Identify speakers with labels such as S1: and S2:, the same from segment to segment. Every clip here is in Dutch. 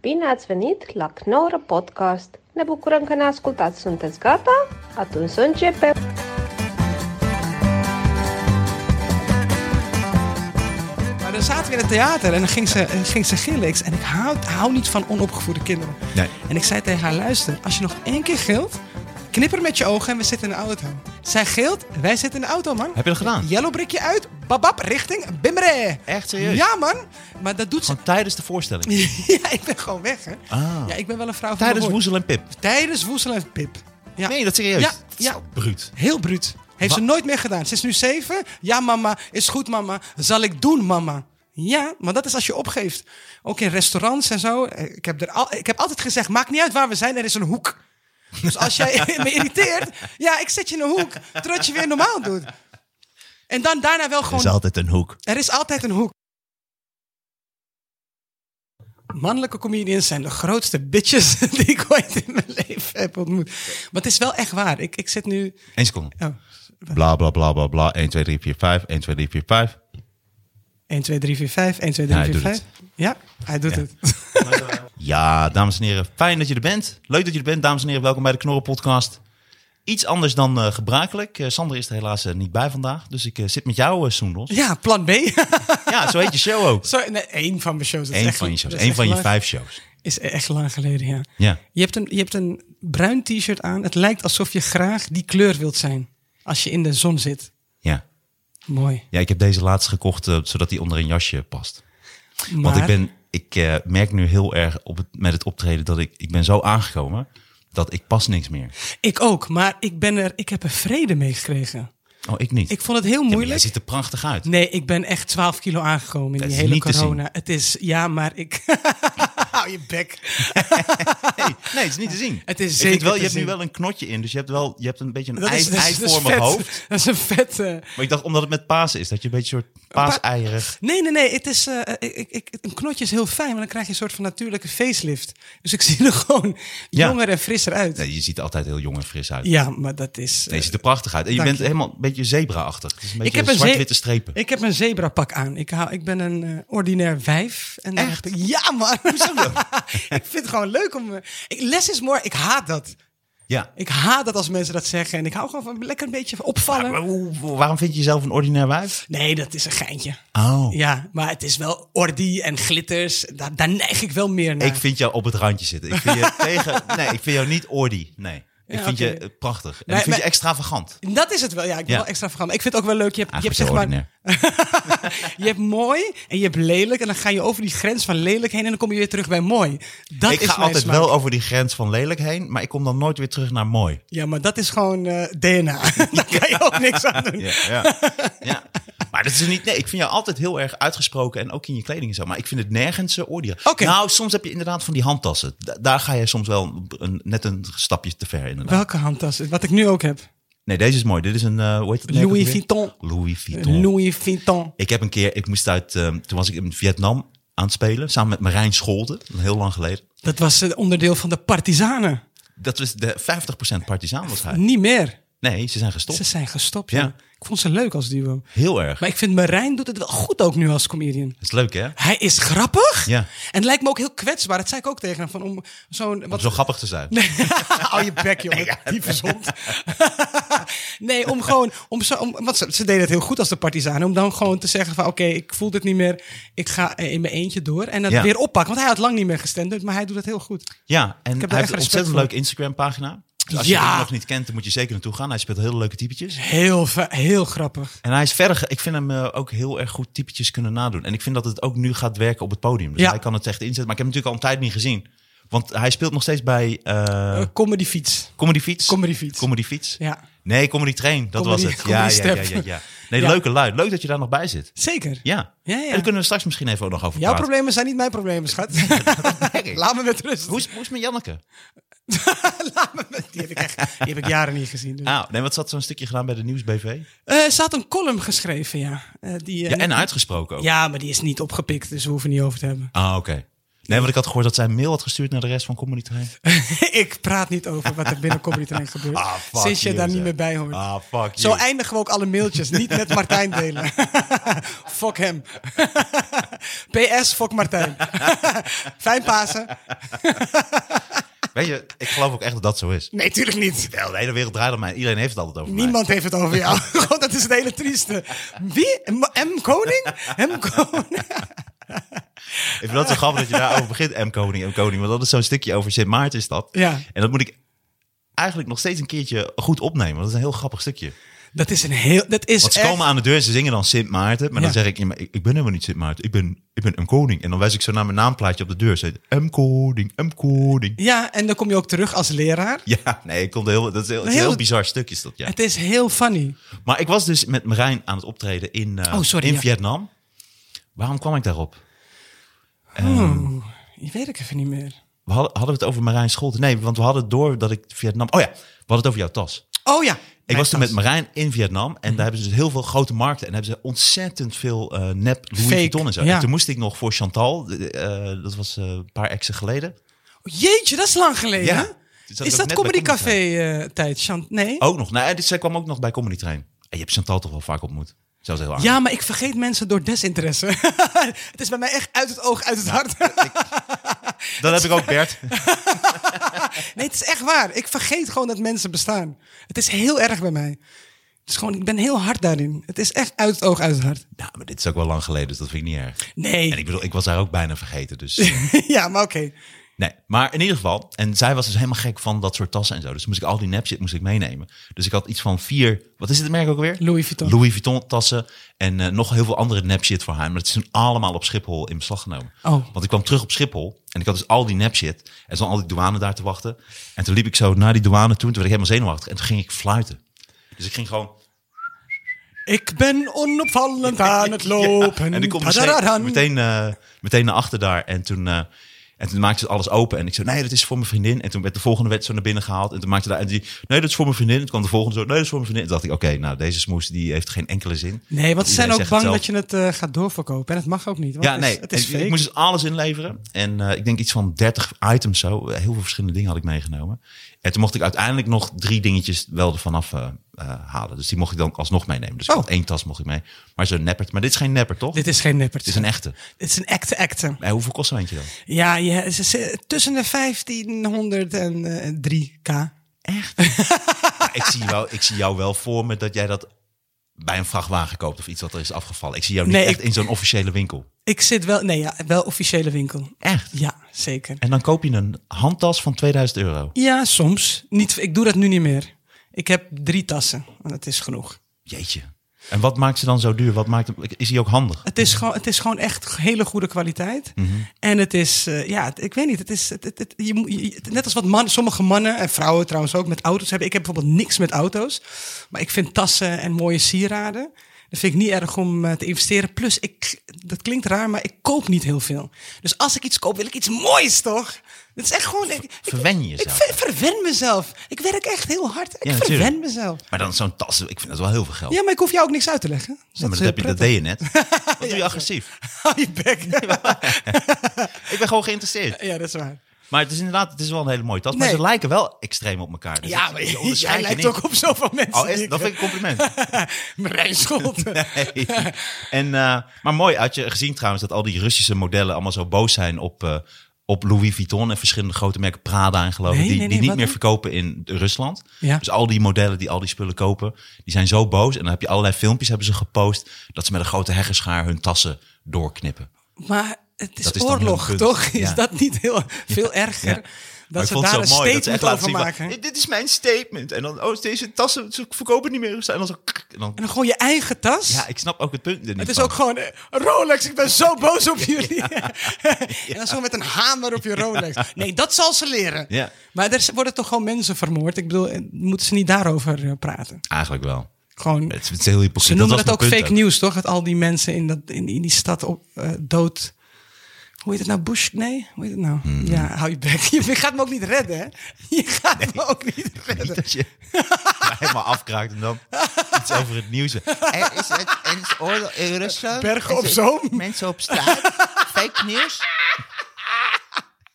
S1: Bine ați venit la Knorr Podcast! Ne bucurăm că ne ascultați. Sunteți gata? Atunci să începem!
S2: Maar dan zaten we in het theater en dan ging ze, eh, ging ze gillen. Ik zei, en ik hou, hou niet van onopgevoede kinderen.
S3: Nee.
S2: En ik zei tegen haar, luister, als je nog één keer gilt, knipper met je ogen en we zitten in de auto. Zij gilt, wij zitten in de auto, man.
S3: Heb je dat gedaan?
S2: Yellow brickje uit, babab, richting Bimre.
S3: Echt serieus?
S2: Ja, man. Maar dat doet ze...
S3: Gewoon tijdens de voorstelling.
S2: ja, ik ben gewoon weg, hè.
S3: Ah.
S2: Ja, ik ben wel een vrouw van
S3: tijdens
S2: mijn woord.
S3: Woezel en Pip.
S2: Tijdens woesel en pip. Ja.
S3: Nee, dat serieus.
S2: Ja,
S3: Dat is
S2: ja.
S3: wel bruut.
S2: Heel bruut. Heeft
S3: Wa-
S2: ze nooit meer gedaan. Ze is nu zeven. Ja, mama. Is goed, mama. Zal ik doen, mama. Ja, maar dat is als je opgeeft. Ook in restaurants en zo. Eh, Ik heb, er al, ik heb altijd gezegd, maakt niet uit waar we zijn, er is een hoek. Dus als jij me irriteert, ja, ik zet je in een hoek. Totdat je weer normaal doet. En dan daarna wel
S3: Er is
S2: gewoon,
S3: altijd een hoek.
S2: er is altijd een hoek. Mannelijke comedians zijn de grootste bitches die ik ooit in mijn leven heb ontmoet. Maar het is wel echt waar. Ik, ik zit nu...
S3: Eén seconde.
S2: Oh.
S3: Bla, bla, bla, bla, bla. 1, 2, 3, 4, 5. 1, 2, 3, 4, 5.
S2: 1, 2, 3, 4, 5. 1, 2, 3,
S3: Ja, hij
S2: 4,
S3: doet
S2: 5. Ja, hij doet het.
S3: Ja, dames en heren. Fijn dat je er bent. Leuk dat je er bent, dames en heren. Welkom bij de Knorren podcast. Iets anders dan eh, gebruikelijk. Eh, Sander is er helaas eh, niet bij vandaag. Dus ik eh, zit met jou, eh Soendos.
S2: Ja, plan B.
S3: ja, zo heet je show ook.
S2: Sorry, nee, één van mijn shows. Dat is
S3: Eén
S2: echt-
S3: van je shows.
S2: dat is
S3: Eén van
S2: echt
S3: je
S2: lang-
S3: vijf shows.
S2: Is echt lang geleden, ja.
S3: Ja.
S2: Je hebt een, je hebt een bruin t-shirt aan. Het lijkt alsof je graag die kleur wilt zijn. Als je in de zon zit.
S3: Ja.
S2: Mooi.
S3: Ja, ik heb deze laatst gekocht eh, zodat die onder een jasje past. Want ik,
S2: Maar-
S3: ben, ik eh, merk nu heel erg op het, met het optreden dat ik, ik ben zo aangekomen dat ik pas niks meer.
S2: Ik ook, maar ik, ben er, ik heb er vrede mee gekregen.
S3: Oh, ik niet.
S2: Ik vond het heel
S3: Ja, maar
S2: moeilijk.
S3: jij ziet er prachtig uit.
S2: Nee, ik ben echt 12 kilo aangekomen in
S3: Dat
S2: die
S3: is
S2: hele
S3: niet te zien.
S2: corona. Het is, ja, maar ik. Hou je bek.
S3: Nee, nee, het is niet te zien.
S2: Het is
S3: Ik
S2: zeker
S3: vind wel,
S2: te
S3: je hebt nu
S2: zien.
S3: wel een knotje in, dus je hebt wel je hebt een beetje een
S2: Dat is,
S3: ei,
S2: dat is- dat is
S3: eivormig
S2: vet.
S3: hoofd.
S2: Dat is een vet. eh,
S3: Maar ik dacht omdat het met Pasen is, dat je een beetje een soort paaseierig.
S2: Nee, nee, nee. Het is, eh, ik, ik, ik- een knotje is heel fijn, maar dan krijg je een soort van natuurlijke facelift. Dus ik zie er gewoon
S3: Ja.
S2: jonger en frisser uit.
S3: Nee, je ziet er altijd heel jong en fris uit.
S2: Ja, maar dat is...
S3: Nee,
S2: eh,
S3: je ziet er prachtig uit. En je
S2: Dank
S3: bent
S2: je.
S3: helemaal een beetje zebra-achtig. Het is een beetje
S2: heb een ze-
S3: zwart-witte strepen.
S2: ik heb een zebrapak aan. Ik, hou, ik ben een eh, ordinair wijf. En dan
S3: Echt?
S2: heb ik- ja, man. ik vind het gewoon leuk om... eh, ik, less is more. Ik haat dat.
S3: Ja.
S2: Ik haat dat als mensen dat zeggen. En ik hou gewoon van lekker een beetje opvallen.
S3: Maar hoe- waarom vind je jezelf een ordinair wijf?
S2: Nee, dat is een geintje.
S3: Oh.
S2: Ja, maar het is wel ordi en glitters. Daar, daar neig ik wel meer naar.
S3: Ik vind jou op het randje zitten. Ik vind je tegen. Nee, ik vind jou niet ordy. Nee. Ik
S2: Ja,
S3: vind je
S2: oké.
S3: eh, prachtig. En
S2: Nee,
S3: ik vind
S2: maar-
S3: je extravagant.
S2: Dat is het wel. Ja, ik ben
S3: Ja.
S2: wel extra vergaan. Maar Ik vind het ook wel leuk. Je hebt, je hebt,
S3: Eigenlijk
S2: zeg maar,
S3: heel ordinair.
S2: je hebt mooi en je hebt lelijk. En dan ga je over die grens van lelijk heen. En dan kom je weer terug bij mooi. Dat
S3: Ik
S2: is
S3: ga
S2: mijn
S3: altijd
S2: smaak.
S3: wel over die grens van lelijk heen, maar ik kom dan nooit weer terug naar mooi.
S2: Ja, maar dat is gewoon eh, DNA. Daar kan je ook niks aan doen.
S3: Ja, ja. ja. Maar dat is niet. Nee, ik vind jou altijd heel erg uitgesproken en ook in je kleding en zo. Maar ik vind het nergens eh, ordy.
S2: Oké.
S3: Nou, soms heb je inderdaad van die handtassen. Da- daar ga je soms wel een, net een stapje te ver inderdaad.
S2: Welke handtas? Wat ik nu ook heb.
S3: Nee, deze is mooi. Dit is een. eh, hoe heet het merk ook
S2: Louis
S3: weer?
S2: Vuitton.
S3: Louis Vuitton.
S2: Louis Vuitton.
S3: Ik heb een keer, ik moest uit, ehm, toen was ik in Vietnam aan het spelen, samen met Marijn Scholten, heel lang geleden.
S2: Dat was het onderdeel van de partizanen.
S3: Dat was de 50% partizaan was hij.
S2: Niet meer.
S3: Nee, ze zijn gestopt.
S2: Ze zijn gestopt. Ja.
S3: Ja.
S2: Ik vond ze leuk als duo.
S3: Heel erg.
S2: Maar ik vind Marijn doet het wel goed ook nu als comedian.
S3: Dat is leuk, hè?
S2: Hij is grappig.
S3: Ja.
S2: En lijkt me ook heel kwetsbaar. Dat zei ik ook tegen hem. Van om zo'n.
S3: Om
S2: Wat...
S3: zo grappig te zijn.
S2: Hou je bek, jongen. Die verzond. nee, om gewoon. Om zo, om, want ze, ze deden het heel goed als de partizanen. Om dan gewoon te zeggen: van oké, ik voel dit niet meer. Ik ga eh, in mijn eentje door. En dat
S3: Ja.
S2: weer oppakken. Want hij had lang niet meer gestand, maar hij doet het heel goed.
S3: Ja,
S2: heb er
S3: en hij
S2: echt
S3: heeft een
S2: respect
S3: ontzettend
S2: voor.
S3: leuke Instagram-pagina. Dus als
S2: Ja.
S3: je hem nog niet kent, dan moet je zeker naartoe gaan. Hij speelt hele leuke typetjes.
S2: Heel, ver- heel grappig.
S3: En hij is verder, ge- ik vind hem eh, ook heel erg goed typetjes kunnen nadoen. En ik vind dat het ook nu gaat werken op het podium. Dus
S2: Ja.
S3: hij kan het echt inzetten. Maar ik heb hem natuurlijk al een tijd niet gezien. Want hij speelt nog steeds bij eh,
S2: Eh, Comedy fiets.
S3: Comedy Fiets.
S2: Comedy Fiets.
S3: Comedy Fiets.
S2: Ja,
S3: Nee, Comedy Train, dat
S2: Comedy-
S3: was het.
S2: Comedy
S3: Ja, ja, ja,
S2: Step.
S3: ja, ja. Nee,
S2: Ja.
S3: leuke lui. Leuk dat je daar nog bij zit.
S2: zeker.
S3: Ja.
S2: Ja, ja.
S3: En daar kunnen we straks misschien even ook nog over
S2: Jouw
S3: praten.
S2: problemen zijn niet mijn problemen, schat. Laat me met rust.
S3: Hoe is, hoe is het met Janneke?
S2: Laat me met- Die heb ik, echt, die heb ik jaren niet gezien. dus.
S3: Ah, nee, wat zat zo'n stukje gedaan bij de Nieuwsbv?
S2: Eh, ze had een column geschreven, ja. Eh, die, eh,
S3: Ja, en uitgesproken ook.
S2: ja, maar die is niet opgepikt, dus we hoeven niet over te hebben.
S3: Ah, oké. Nee, want ik had gehoord dat zij een mail had gestuurd naar de rest van Comedy Train.
S2: ik praat niet over wat er binnen Comedy Train gebeurt.
S3: Ah, fuck
S2: sinds je
S3: you,
S2: daar
S3: zeg.
S2: niet meer bij hoort.
S3: Ah, fuck
S2: Zo
S3: you.
S2: eindigen we ook alle mailtjes. Niet met Martijn delen. fuck hem. PS, fuck Martijn. Fijn Pasen.
S3: Weet je, ik geloof ook echt dat dat zo is.
S2: Nee, tuurlijk niet.
S3: Wel, de hele wereld draait om mij. Iedereen heeft het altijd over
S2: Niemand heeft het over jou. Gewoon, dat is het hele trieste. Wie? M. M. Koning? M. Koning?
S3: mij. Ik vind dat zo grappig dat je daarover begint, M. Koning, M. Koning. Want dat is zo'n stukje over Sint Maarten is dat.
S2: Ja.
S3: En dat moet ik eigenlijk nog steeds een keertje goed opnemen. want Dat is een heel grappig stukje.
S2: Dat is een heel... Dat is
S3: Want ze
S2: echt-
S3: komen aan de deur en ze zingen dan Sint Maarten. Maar dan
S2: Ja.
S3: zeg ik, ja, maar ik, ik ben helemaal niet Sint Maarten. Ik ben, ik ben M. Koning. En dan wijs ik zo naar mijn naamplaatje op de deur. Ze heet M. Koning, M. Koning.
S2: Ja, en dan kom je ook terug als leraar.
S3: Ja, nee, ik kom heel, dat is heel, het is een
S2: Heel- Eh.
S3: heel bizar stuk is dat, ja.
S2: Het is heel funny.
S3: Maar ik was dus met Marijn aan het optreden in, eh,
S2: Oh, sorry,
S3: in
S2: ja.
S3: Vietnam. Waarom kwam ik daarop? Ehm.
S2: Oeh, die weet ik even niet meer.
S3: We hadden, hadden we het over Marijn Scholte? Nee, want we hadden het door dat ik Vietnam... Oh ja, we hadden het over jouw tas.
S2: Oh ja.
S3: Ik was toen met Marijn in Vietnam
S2: Mhm.
S3: en daar hebben ze dus heel veel grote markten. En daar hebben ze ontzettend veel eh, nep Louis
S2: Fake,
S3: Vuitton en zo.
S2: ja.
S3: En toen moest ik nog voor Chantal, de- de, eh, dat was eh, een paar exen geleden.
S2: Oh, Jeetje, dat is lang geleden.
S3: Ja.
S2: hè?
S3: Dus dat
S2: is
S3: ook
S2: dat
S3: net
S2: Comedy
S3: bij Comedy
S2: Café eh, tijd, Chant? Nee?
S3: Ook nog, nou, dus zij kwam ook nog bij Comedy Train. En je hebt Chantal toch wel vaak ontmoet? Zelfs heel aardig.
S2: Ja, maar ik vergeet mensen door desinteresse. het is bij mij echt uit het oog, uit het hart.
S3: Dat heb ik ook, Bert.
S2: nee, het is echt waar. Ik vergeet gewoon dat mensen bestaan. Het is heel erg bij mij. Het is gewoon, ik ben heel hard daarin. Het is echt uit het oog, uit het hart.
S3: nou, maar dit is ook wel lang geleden, dus dat vind ik niet erg.
S2: Nee.
S3: En ik bedoel, ik was daar ook bijna vergeten, dus...
S2: ja, maar oké.
S3: Nee, maar in ieder geval. En zij was dus helemaal gek van dat soort tassen en zo. Dus moest ik al die nep shit moest ik meenemen. Dus ik had iets van vier. Wat is het merk ook weer?
S2: Louis Vuitton.
S3: Louis Vuitton tassen en eh, nog heel veel andere nep shit voor haar. Maar dat is toen allemaal op Schiphol in beslag genomen.
S2: Oh.
S3: Want ik kwam terug op Schiphol en ik had dus al die nep shit. En zat al die douane daar te wachten. En toen liep ik zo naar die douane toe. En toen werd ik helemaal zenuwachtig. En toen ging ik fluiten. Dus ik ging gewoon.
S2: Ik ben onopvallend aan het lopen.
S3: Ja, En ik kom
S2: Tadararan.
S3: meteen, meteen, eh, meteen naar achter daar. En toen, eh, en toen maakte ze alles open. En ik zei, nee, dat is voor mijn vriendin. En toen werd de volgende wet zo naar binnen gehaald. En toen maakte daar, en die, nee, dat is voor mijn vriendin. En toen kwam de volgende zo, nee, dat is voor mijn vriendin. En toen dacht ik, oké, nou, deze smoes, die heeft geen enkele zin.
S2: Nee, want ze zijn ook
S3: Iedereen
S2: bang
S3: zegt
S2: dat je het eh, gaat doorverkopen. En dat mag ook niet. Want
S3: Ja,
S2: het is-
S3: nee,
S2: Het is
S3: ik, ik
S2: fake.
S3: moest dus alles inleveren. En eh, ik denk iets van 30 items zo. Heel veel verschillende dingen had ik meegenomen. En toen mocht ik uiteindelijk nog drie dingetjes wel ervan af eh, eh, halen. Dus die mocht ik dan alsnog meenemen. Dus ik
S2: Oh.
S3: had één tas mocht ik mee. Maar zo'n neppert. Maar dit is geen neppert, toch?
S2: Dit is geen nippertje.
S3: Dit is een echte.
S2: Het is een acte acte.
S3: Hey, Eh, hoeveel kost zo'n eentje dan?
S2: Ja, ja ze- ze- tussen de 1500 en eh, 3k. Ah.
S3: ik, zie jou, ik zie jou wel voor me dat jij dat bij een vrachtwagen koopt of iets wat er is afgevallen. Ik zie jou niet
S2: Nee,
S3: echt
S2: ik-
S3: in zo'n officiële winkel.
S2: Ik zit wel, nee, ja, wel officiële winkel.
S3: Echt?
S2: Ja, zeker.
S3: En dan koop je een handtas van 2000 euro.
S2: Ja, soms. Niet, ik doe dat nu niet meer. Ik heb drie tassen. En dat is genoeg.
S3: Jeetje. En wat maakt ze dan zo duur? Wat maakt hem, is die ook handig?
S2: Het is gewoon, het is gewoon echt hele goede kwaliteit.
S3: Mhm.
S2: En het is, eh, ja, het- ik weet niet. Het is, het, het, het- je, moet- je- het- net als wat mannen, sommige mannen en vrouwen trouwens ook met auto's hebben. Ik heb bijvoorbeeld niks met auto's. Maar ik vind tassen en mooie sieraden. Dat vind ik niet erg om eh, te investeren. Plus, ik, dat klinkt raar, maar ik koop niet heel veel. Dus als ik iets koop, wil ik iets moois, toch? Dat is echt gewoon... Ik, ik-
S3: verwen je
S2: Ik
S3: jezelf.
S2: ver- verwen mezelf. Ik werk echt heel hard. Ik
S3: Ja, natuurlijk.
S2: verwen mezelf.
S3: Maar dan zo'n tas, ik vind dat wel heel veel geld.
S2: Ja, maar ik hoef jou ook niks uit te leggen. Dus
S3: Ja, maar
S2: is
S3: dat, heb je,
S2: heel prettig.
S3: dat deed je net. Wat doe je agressief?
S2: Hou je bek.
S3: Ik ben gewoon geïnteresseerd.
S2: Ja, dat is waar.
S3: Maar het is inderdaad, het is wel een hele mooie tas. Maar
S2: Nee.
S3: ze lijken wel extreem op elkaar. Dus
S2: Ja,
S3: dat-
S2: maar
S3: je
S2: jij
S3: onderscheidt je
S2: lijkt
S3: niet.
S2: ook op zoveel mensen. eh,
S3: Oh, is, dat vind ik een compliment.
S2: Marijn Scholten.
S3: Nee. En, eh, maar mooi, had je gezien trouwens dat al die Russische modellen allemaal zo boos zijn op, eh, op Louis Vuitton en verschillende grote merken, Prada en geloof ik,
S2: Nee,
S3: die,
S2: nee, nee,
S3: die niet
S2: wat
S3: meer
S2: dan?
S3: verkopen in Rusland.
S2: Ja.
S3: Dus al die modellen die al die spullen kopen, die zijn zo boos. En dan heb je allerlei filmpjes hebben ze gepost dat ze met een grote heggeschaar hun tassen doorknippen.
S2: Maar het is,
S3: Dat is dan
S2: oorlog,
S3: hun punt.
S2: toch? Is
S3: Ja.
S2: dat niet heel, veel erger?
S3: Ja. Maar
S2: Dat
S3: ik
S2: ze
S3: vond het
S2: daar
S3: zo
S2: een
S3: mooi dat ze
S2: statement
S3: echt laten
S2: over
S3: zien van,
S2: maken.
S3: "Dit- dit is mijn statement. En dan, oh, deze tassen ze verkopen niet meer. En dan zo, kik, en dan,
S2: En dan gewoon je eigen tas.
S3: ja, ik snap ook het punt. er niet
S2: het is
S3: van.
S2: ook gewoon eh, Rolex, ik ben zo boos op jullie. en dan zo met een hamer op je Rolex. Nee, dat zal ze leren.
S3: Ja.
S2: Maar er worden toch gewoon mensen vermoord? Ik bedoel, eh, moeten ze niet daarover eh, praten?
S3: Eigenlijk wel.
S2: Gewoon,
S3: Het is, het is heel hypocriet.
S2: Ze noemen
S3: was
S2: dat,
S3: mijn
S2: ook
S3: punt
S2: fake news, toch? Dat al die mensen in, dat, in, in die stad op, eh, dood. Hoe heet het nou? Bush? Nee? Hoe heet het nou?
S3: Hmm.
S2: Ja, hou je bek. Je gaat me ook niet redden, hè? Je gaat me ook niet redden.
S3: Niet dat je mij helemaal afkraakt en dan iets over het nieuws. Eh,
S4: Er is, het, er is oorlog in Rusland.
S2: Bergen
S4: Er
S2: op
S4: zijn
S2: Zoom.
S4: Mensen op straat. Fake nieuws.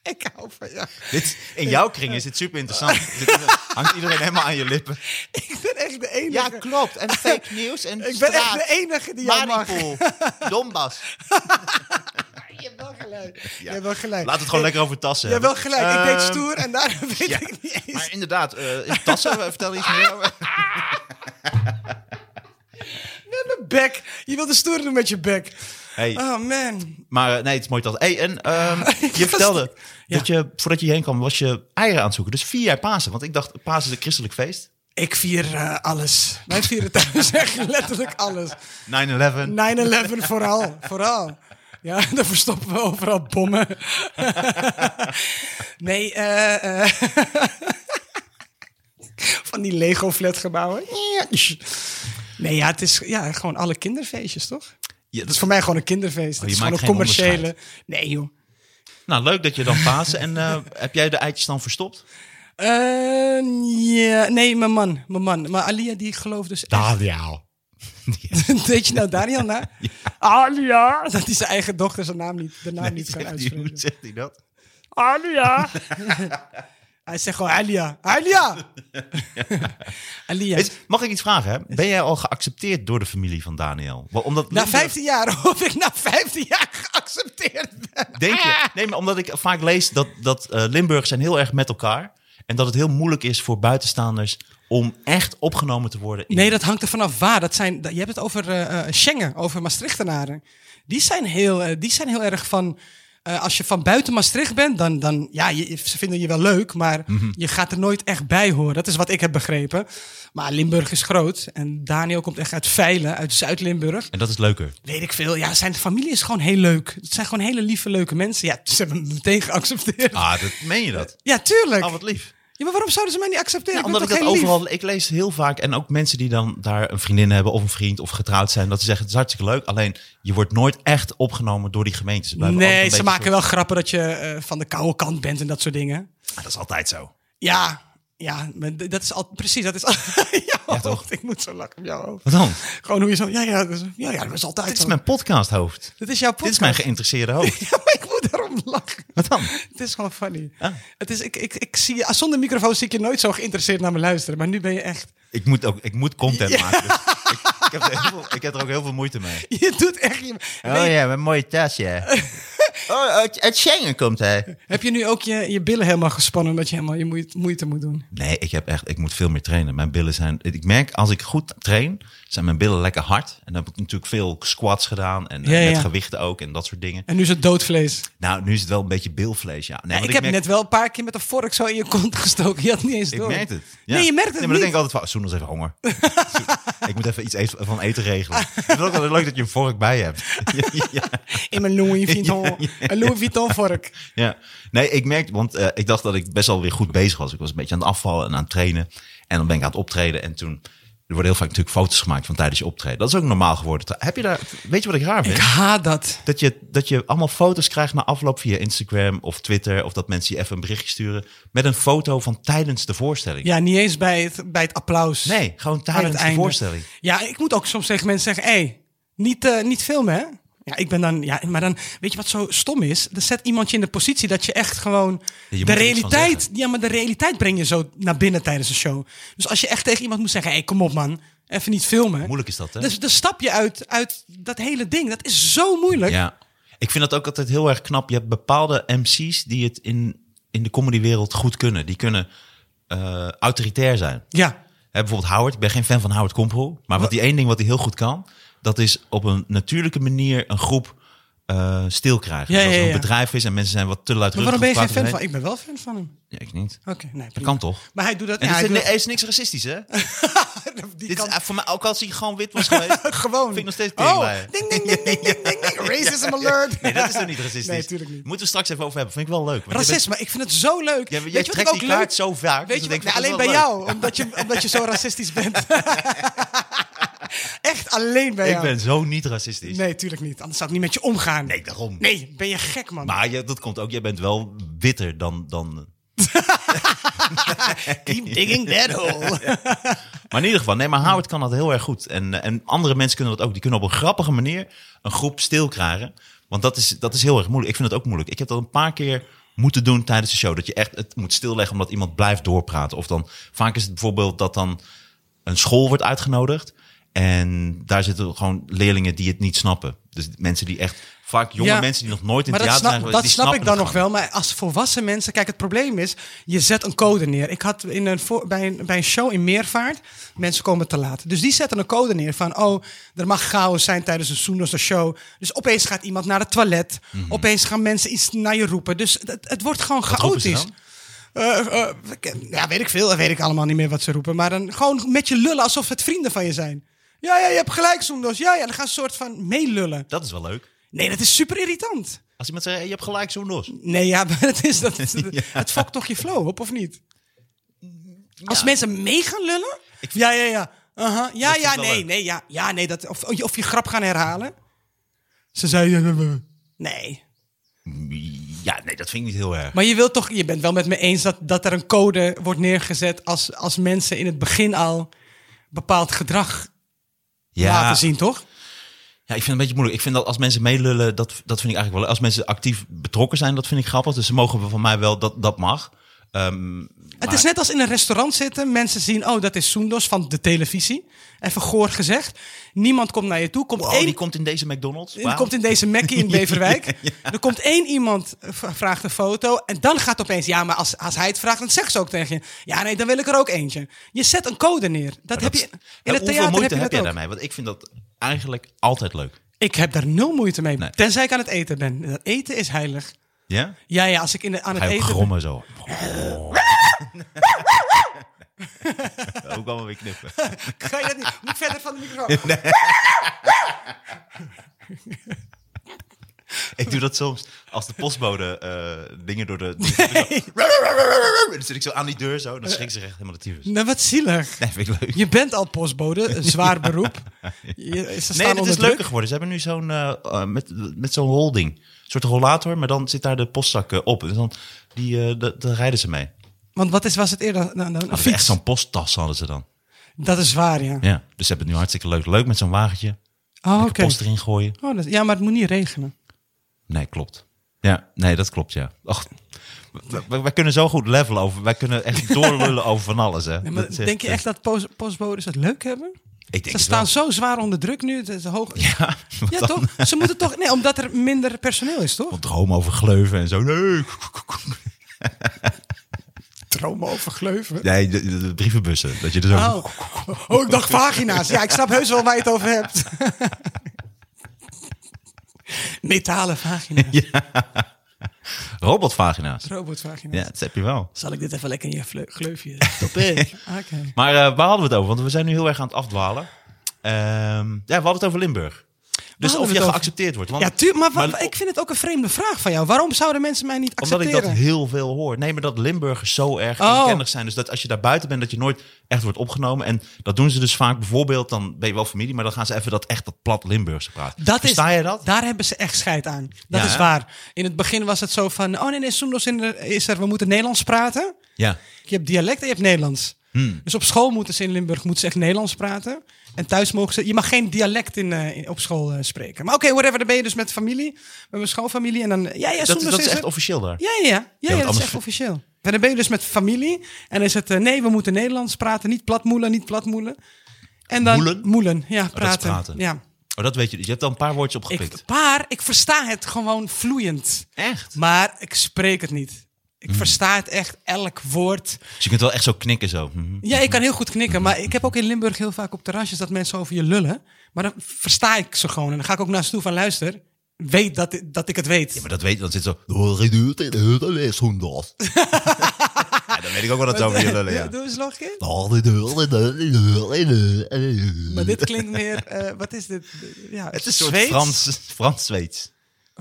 S2: Ik hou van jou.
S3: Dit, in jouw kring is dit super interessant. Dit hangt iedereen helemaal aan je lippen.
S2: Ik ben echt de enige.
S4: Ja, klopt. En fake news en
S2: ik ben echt de enige die jou mag.
S4: Mariupol, Donbass.
S2: Je hebt wel gelijk.
S3: Ja.
S2: Je hebt wel gelijk.
S3: Laat het gewoon lekker over tassen
S2: Je hebt wel
S3: hebben.
S2: gelijk. ik deed
S3: Ehm,
S2: stoer en daarom weet
S3: ja.
S2: ik niet eens.
S3: Maar inderdaad, eh, in tassen, vertel iets meer over.
S2: Met mijn bek. Je wilde stoer doen met je bek.
S3: Hey,
S2: Oh man.
S3: maar eh, nee, het is mooi dat. Hey, en ehm,
S2: Ik
S3: je
S2: was-
S3: vertelde
S2: Ja.
S3: dat je, voordat je hierheen kwam, was je eieren aan het zoeken. Dus vier jaar Pasen. Want ik dacht, Pasen is een christelijk feest. 9-11.
S2: Ik vier eh, alles. Wij vieren thuis echt letterlijk alles. 9-11 vooral, vooral. Ja, daar verstoppen we overal bommen. nee, eh... eh, van die Lego-flatgebouwen. Nee, ja, het is ja, gewoon alle kinderfeestjes, toch?
S3: Ja,
S2: Dat is voor mij gewoon een kinderfeest.
S3: Oh,
S2: Het is
S3: je
S2: gewoon
S3: maakt
S2: een
S3: geen
S2: commerciële... Nee, joh.
S3: Nou, leuk dat je dan Pasen. En eh, heb jij de eitjes dan verstopt?
S2: Eh, ja, nee, mijn man, mijn man. Maar Alia, die gelooft dus echt...
S3: Daniel.
S2: Deed je nou Daniel na? Alia! Dat hij zijn eigen dochter zijn naam niet, de naam Nou, niet kan
S3: Hoe
S2: uitspreken.
S3: zegt hij dat?
S2: Alia. Hij zegt gewoon Alia. Alia! Alia.
S3: Is- mag ik iets vragen? Hè? Ben jij al geaccepteerd door de familie van Daniel? Wel, Omdat
S2: na
S3: Linda-
S2: 15 jaar, of ik na 15 jaar geaccepteerd ben.
S3: Denk
S2: Ah!
S3: je? Nee, maar omdat ik vaak lees dat, dat eh, Limburgers zijn heel erg met elkaar. En dat het heel moeilijk is voor buitenstaanders om echt opgenomen te worden. in-
S2: Nee, dat hangt er vanaf waar. Dat zijn, dat- je hebt het over eh, eh, Schengen, over Maastrichtenaren. Die zijn heel, eh, die zijn heel erg van... eh, als je van buiten Maastricht bent, dan... dan ja, je, ze vinden je wel leuk, maar je gaat er nooit echt bij horen. Dat is wat ik heb begrepen. Maar Limburg is groot. En Daniel komt echt uit Veilen, uit Zuid-Limburg.
S3: En dat is leuker.
S2: Weet ik veel. Ja, zijn familie is gewoon heel leuk. Het zijn gewoon hele lieve, leuke mensen. Ja, ze hebben me meteen geaccepteerd.
S3: Ah, dat meen je dat?
S2: Ja, tuurlijk.
S3: Ah, wat lief.
S2: Ja, maar waarom zouden ze mij niet accepteren?
S3: Ja, omdat ik
S2: ben
S3: dat
S2: toch heel
S3: overal... Ik lees heel vaak, en ook mensen die dan daar een vriendin hebben of een vriend of getrouwd zijn, dat ze zeggen, het is hartstikke leuk, alleen je wordt nooit echt opgenomen door die gemeente. Ze
S2: lief?
S3: blijven altijd
S2: Nee,
S3: een
S2: ze
S3: beetje
S2: maken wel grappen dat je eh, van de koude kant bent en dat soort dingen.
S3: zo- Ah, dat is altijd zo.
S2: Ja, ja, maar d- dat is al precies. Dat is al. ja,
S3: toch?
S2: Ik moet zo lachen op jou. hoofd.
S3: Wat dan?
S2: Gewoon hoe je zo. Ja, ja, dat is, ja, ja, dat is altijd.
S3: Dit is
S2: zo.
S3: mijn podcasthoofd.
S2: Dit is jouw
S3: Dit is
S2: podcast.
S3: mijn geïnteresseerde hoofd.
S2: Ja, maar ik moet daarom lachen.
S3: Wat dan?
S2: Het is gewoon funny.
S3: Ah.
S2: Het is, ik, ik, ik zie je, zonder microfoon zie ik je nooit zo geïnteresseerd naar me luisteren. Maar nu ben je echt.
S3: Ik moet, ook, ik moet content maken. dus ik, ik, heb er heel veel- ik heb er ook heel veel moeite mee.
S2: Je doet echt. Je,
S3: Oh ja, met een mooie tasje. oh, uit, uit Schengen komt hij.
S2: Heb je nu ook je, je billen helemaal gespannen omdat je helemaal je moeite, moeite moet doen?
S3: Nee, ik, heb echt, ik moet veel meer trainen. Mijn billen zijn... Ik merk, als ik goed train, zijn mijn billen lekker hard. En dan heb ik natuurlijk veel squats gedaan. En eh,
S2: Ja,
S3: met
S2: ja.
S3: gewichten ook en dat soort dingen.
S2: En nu is het doodvlees.
S3: Nou, nu is het wel een beetje bilvlees, ja. Nee,
S2: ik,
S3: want
S2: heb
S3: merk-
S2: net wel een paar keer met een vork zo in je kont gestoken. Je had niet eens
S3: Ik
S2: door.
S3: merk het. Ja.
S2: Nee, je merkt het
S3: nee, maar
S2: niet.
S3: dan denk ik altijd van, Soen, dat is even honger. ik moet even iets eten- van eten regelen. Ik vind het ook wel leuk dat je een vork bij je hebt. ja, ja.
S2: In mijn Louis Vuitton, een Louis Vuitton vork.
S3: Ja, nee, ik merkte, want eh, ik dacht dat ik best wel weer goed bezig was. Ik was een beetje aan het afvallen en aan het trainen. En dan ben ik aan het optreden. En toen, er worden heel vaak natuurlijk foto's gemaakt van tijdens je optreden. Dat is ook normaal geworden. Heb je daar, weet je wat ik raar vind?
S2: Ik haat dat.
S3: Dat je, dat je allemaal foto's krijgt na afloop via Instagram of Twitter. Of dat mensen je even een berichtje sturen met een foto van tijdens de voorstelling.
S2: Ja, niet eens bij het, bij het applaus.
S3: Nee, gewoon
S2: Aan
S3: tijdens de
S2: einde.
S3: voorstelling.
S2: Ja, ik moet ook soms tegen mensen zeggen: hé, hey, niet, eh, niet filmen, hè? Ja, ik ben dan, ja, maar dan, weet je wat zo stom is? Dan zet iemand je in de positie dat je echt gewoon
S3: je moet
S2: de
S3: er iets van
S2: realiteit,
S3: zeggen.
S2: ja, maar de realiteit breng je zo naar binnen tijdens een show. Dus als je echt tegen iemand moet zeggen: hé, hey, kom op, man, even niet filmen.
S3: Moeilijk is dat, hè?
S2: Dus dan stap je uit, uit dat hele ding. Dat is zo moeilijk.
S3: Ja, ik vind dat ook altijd heel erg knap. Je hebt bepaalde MC's die het in, in de comedywereld goed kunnen. Die kunnen eh, autoritair zijn.
S2: Ja.
S3: Hè, bijvoorbeeld Howard. Ik ben geen fan van Howard Komprol. Maar wat die één ding wat hij heel goed kan, dat is op een natuurlijke manier een groep eh, stil krijgen.
S2: Ja,
S3: dus als er
S2: ja,
S3: een
S2: ja.
S3: bedrijf is en mensen zijn wat te
S2: Maar
S3: luidruchtig.
S2: waarom ben je geen
S3: of
S2: fan van?
S3: kwaad of
S2: Ik ben wel fan van hem.
S3: heet. Ja, ik niet.
S2: Oké, nee.
S3: Dat
S2: prima.
S3: kan toch?
S2: Maar hij doet dat.
S3: En
S2: Ja,
S3: dit
S2: hij
S3: is,
S2: doet
S3: nee, is niks racistisch, hè?
S2: dat- die
S3: Dit is,
S2: kan-
S3: eh, voor mij, ook als hij gewoon wit was geweest,
S2: gewoon.
S3: vind ik nog steeds tegen
S2: Oh,
S3: bij.
S2: ding, ding, ding, ding, ding, ding, ding. Racism alert.
S3: Nee, dat is toch niet racistisch?
S2: Nee, tuurlijk niet.
S3: Moeten we straks even over hebben. Vind ik wel leuk. want je bent-
S2: Racisme, ik vind het zo leuk.
S3: Ja, maar
S2: Weet
S3: jij
S2: je wat
S3: trekt
S2: ik ook
S3: die
S2: leuk-
S3: kaart zo vaak.
S2: Weet
S3: dus
S2: je
S3: dan
S2: wat-
S3: denk ik,
S2: nou, alleen
S3: dat is
S2: bij
S3: wel leuk.
S2: jou, omdat je, omdat je zo racistisch bent. Echt alleen bij
S3: Ik
S2: jou.
S3: ben zo niet racistisch.
S2: eh, Nee, tuurlijk niet. Anders zou ik niet met je omgaan.
S3: Nee, daarom.
S2: Nee, ben je gek, man.
S3: Maar je, dat komt ook. Jij bent wel witter dan... dan
S2: Keep digging that hole.
S3: maar in ieder geval, nee, maar Howard kan dat heel erg goed. En, eh, en andere mensen kunnen dat ook. Die kunnen op een grappige manier een groep stil krijgen. Want dat is, dat is heel erg moeilijk. Ik vind het ook moeilijk. Ik heb dat een paar keer moeten doen tijdens de show. Dat je echt het moet stilleggen omdat iemand blijft doorpraten. Of dan, vaak is het bijvoorbeeld dat dan een school wordt uitgenodigd. En daar zitten gewoon leerlingen die het niet snappen. Dus mensen die echt, vaak jonge
S2: Ja,
S3: mensen die nog nooit in
S2: Maar
S3: het
S2: dat
S3: theater
S2: snap,
S3: zijn geweest.
S2: dat
S3: die
S2: snap
S3: snappen
S2: ik dan
S3: het
S2: nog
S3: gewoon.
S2: wel. Maar als volwassen mensen... Kijk, het probleem is, je zet een code neer. Ik had in een, voor- bij, een, bij een show in Meervaart, mensen komen te laat. Dus die zetten een code neer van... oh, er mag chaos zijn tijdens een Soenos show. Dus opeens gaat iemand naar het toilet. Opeens gaan mensen iets naar je roepen. Dus het, het wordt gewoon
S3: Mhm. Wat roepen ze
S2: chaotisch.
S3: dan?
S2: Eh, eh, ik- ja, weet ik veel. Dat weet ik allemaal niet meer wat ze roepen. Maar dan gewoon met je lullen alsof het vrienden van je zijn. Ja, ja, je hebt gelijk, Soendos. Ja, ja, dan gaan ze een soort van meelullen.
S3: Dat is wel leuk.
S2: Nee, dat is super irritant.
S3: Als iemand zegt, hey, je hebt gelijk zo'n los.
S2: Nee, ja, maar het is dat. Het fokt toch je flow op, of niet? Als mensen mee gaan lullen? Ja, ja, ja. Aha. Ja,
S3: Dat is
S2: ja,
S3: wel
S2: nee,
S3: leuk.
S2: nee, ja. Ja, nee, dat, of, of je grap gaan herhalen. Ze zeiden. Nee.
S3: Ja, nee, dat vind ik niet heel erg.
S2: Maar je, wilt toch, je bent wel met me eens dat, dat er een code wordt neergezet. Als, als mensen in het begin al bepaald gedrag laten zien, toch?
S3: Ja, ik vind het een beetje moeilijk. Ik vind dat als mensen meelullen, dat, dat vind ik eigenlijk wel. Als mensen actief betrokken zijn, dat vind ik grappig. Dus ze mogen van mij wel, dat, dat mag. Ehm,
S2: Het is net als in een restaurant zitten. Mensen zien, oh, dat is Soendos van de televisie. Even goor gezegd. Niemand komt naar je toe. Komt
S3: wow,
S2: één
S3: Oh, die komt in deze McDonald's.
S2: Die
S3: Wauw.
S2: komt in deze Mackie in Beverwijk. Er komt één iemand, eh, v- vraagt een foto. En dan gaat opeens, ja, maar als, als hij het vraagt, dan zegt ze ook tegen je. Ja, nee, dan wil ik er ook eentje. Je zet een code neer. Dat
S3: Maar
S2: heb
S3: dat-
S2: je, in
S3: maar
S2: het
S3: Hoeveel
S2: theater heb
S3: moeite
S2: je dat
S3: heb jij
S2: ook.
S3: daarmee? Want ik vind dat eigenlijk altijd leuk.
S2: Ik heb daar nul moeite mee.
S3: Nee.
S2: Tenzij ik aan het eten ben. Dat eten is heilig.
S3: Ja?
S2: Ja, ja, als ik in de, aan
S3: Ga
S2: het
S3: je ook
S2: eten
S3: grommen zo. ook allemaal weer knippen.
S2: ben. Ga je dat niet? Moet ik verder van de microfoon.
S3: Ik doe dat soms als de postbode eh, dingen door de... Dan zit ik zo aan die deur zo. Dan schrik ze echt helemaal de tyfus.
S2: Nou, wat zielig.
S3: Nee, vind ik leuk.
S2: Je bent al postbode, een zwaar beroep. Je, ze staan
S3: Nee, het
S2: onder
S3: is
S2: druk.
S3: leuker geworden. Ze hebben nu zo'n eh, eh, met, met zo'n holding. Een soort rollator, maar dan zit daar de postzak eh, op. En dan die, eh, da- daar rijden ze mee.
S2: Want wat is, was het eerder? Nou, nou, een
S3: Of Oh, echt
S2: Ah, fiets.
S3: zo'n posttas hadden ze dan.
S2: Dat is waar, ja.
S3: Ja, dus ze hebben het nu hartstikke leuk. Leuk met zo'n wagentje.
S2: Oh,
S3: Lekker
S2: oké.
S3: Post erin gooien.
S2: Oh, dat, ja, maar het moet niet regenen.
S3: Nee, klopt. Ja, nee, dat klopt, ja. Ach, w- w- wij kunnen zo goed levelen over. Wij kunnen echt doorlullen over van alles, hè.
S2: Nee, maar
S3: Dat is eh,
S2: denk je echt dat post- postbodes het leuk hebben?
S3: Ik denk
S2: Ze
S3: het
S2: staan
S3: wel.
S2: zo zwaar onder druk nu. Het is hoog... Ja,
S3: Ja, want dan-
S2: toch? Ze moeten toch... Nee, omdat er minder personeel is, toch?
S3: Want dromen over gleuven en zo. Nee,
S2: Dromen over gleuven.
S3: nee de, de- de brievenbussen. Dat je er zo...
S2: Oh. oh, ik dacht vagina's. Ja, ik snap heus wel waar je het over hebt. Metalen vagina's.
S3: Robotvagina's.
S2: Robotvagina's.
S3: Ja, dat heb je wel.
S2: Zal ik dit even lekker in je vleu- gleufje stoppen? Oké.
S3: Maar eh, waar hadden we het over? Want we zijn nu heel erg aan het afdwalen. Ehm, ja, we hadden het over Limburg. Dus
S2: hadden
S3: of
S2: we
S3: je
S2: het over?
S3: geaccepteerd wordt. Want,
S2: Ja, tuur, maar, wa-
S3: Maar-
S2: ik vind het ook een vreemde vraag van jou. Waarom zouden mensen mij niet
S3: omdat ik
S2: accepteren?
S3: dat heel veel hoor. Nee, maar dat Limburgers zo erg
S2: Oh.
S3: inkennig zijn. Dus dat als je daar buiten bent, dat je nooit echt wordt opgenomen. En dat doen ze dus vaak bijvoorbeeld, dan ben je wel familie, maar dan gaan ze even dat echt dat plat Limburgse praten.
S2: Dat is,
S3: Versta je dat?
S2: Daar hebben ze echt scheid aan. Dat
S3: Ja,
S2: is
S3: hè?
S2: waar. In het begin was het zo van, oh nee, nee, Soendos in de- is er, we moeten Nederlands praten.
S3: Ja.
S2: Je hebt dialect en je hebt Nederlands.
S3: Hmm.
S2: Dus op school moeten ze in Limburg moeten ze echt Nederlands praten. En thuis mogen ze, je mag geen dialect in, eh, in- op school eh, spreken. Maar oké, whatever, dan ben je dus met familie, met mijn schoolfamilie. En dan, ja, ja,
S3: Dat,
S2: Soendos
S3: is- dat is
S2: er.
S3: echt officieel daar.
S2: Ja, ja, ja. ja, ja, dat
S3: anders-
S2: is echt officieel. En dan ben je dus met familie. En is het, eh, nee, we moeten Nederlands praten. Niet platmoelen, niet platmoelen. En dan,
S3: Moelen? Oh,
S2: Moelen, ja,
S3: is
S2: praten.
S3: praten.
S2: Ja.
S3: Oh, dat weet je. Dus je hebt al een paar woordjes opgepikt.
S2: Ik, paar, ik versta het gewoon vloeiend.
S3: Echt?
S2: Maar ik spreek het niet.
S3: Hmm.
S2: Ik versta het echt, elk woord.
S3: Dus je kunt wel echt zo knikken zo. Mhm.
S2: Ja, ik kan heel goed knikken. Maar ik heb ook in Limburg heel vaak op terrasjes dat mensen over je lullen. Maar dan versta ik ze gewoon. En dan ga ik ook naar ze toe van luister. Weet dat, dat ik het weet.
S3: Maar dat weet je, dan zit zo... Ja, Ah, dan weet ik ook wel dat het over je lullen, ja.
S2: Doe eens nog een keer. Maar dit klinkt meer... eh, wat is dit? Ja,
S3: Het is een soort
S2: Zweeds?
S3: Frans, Frans-Zweeds.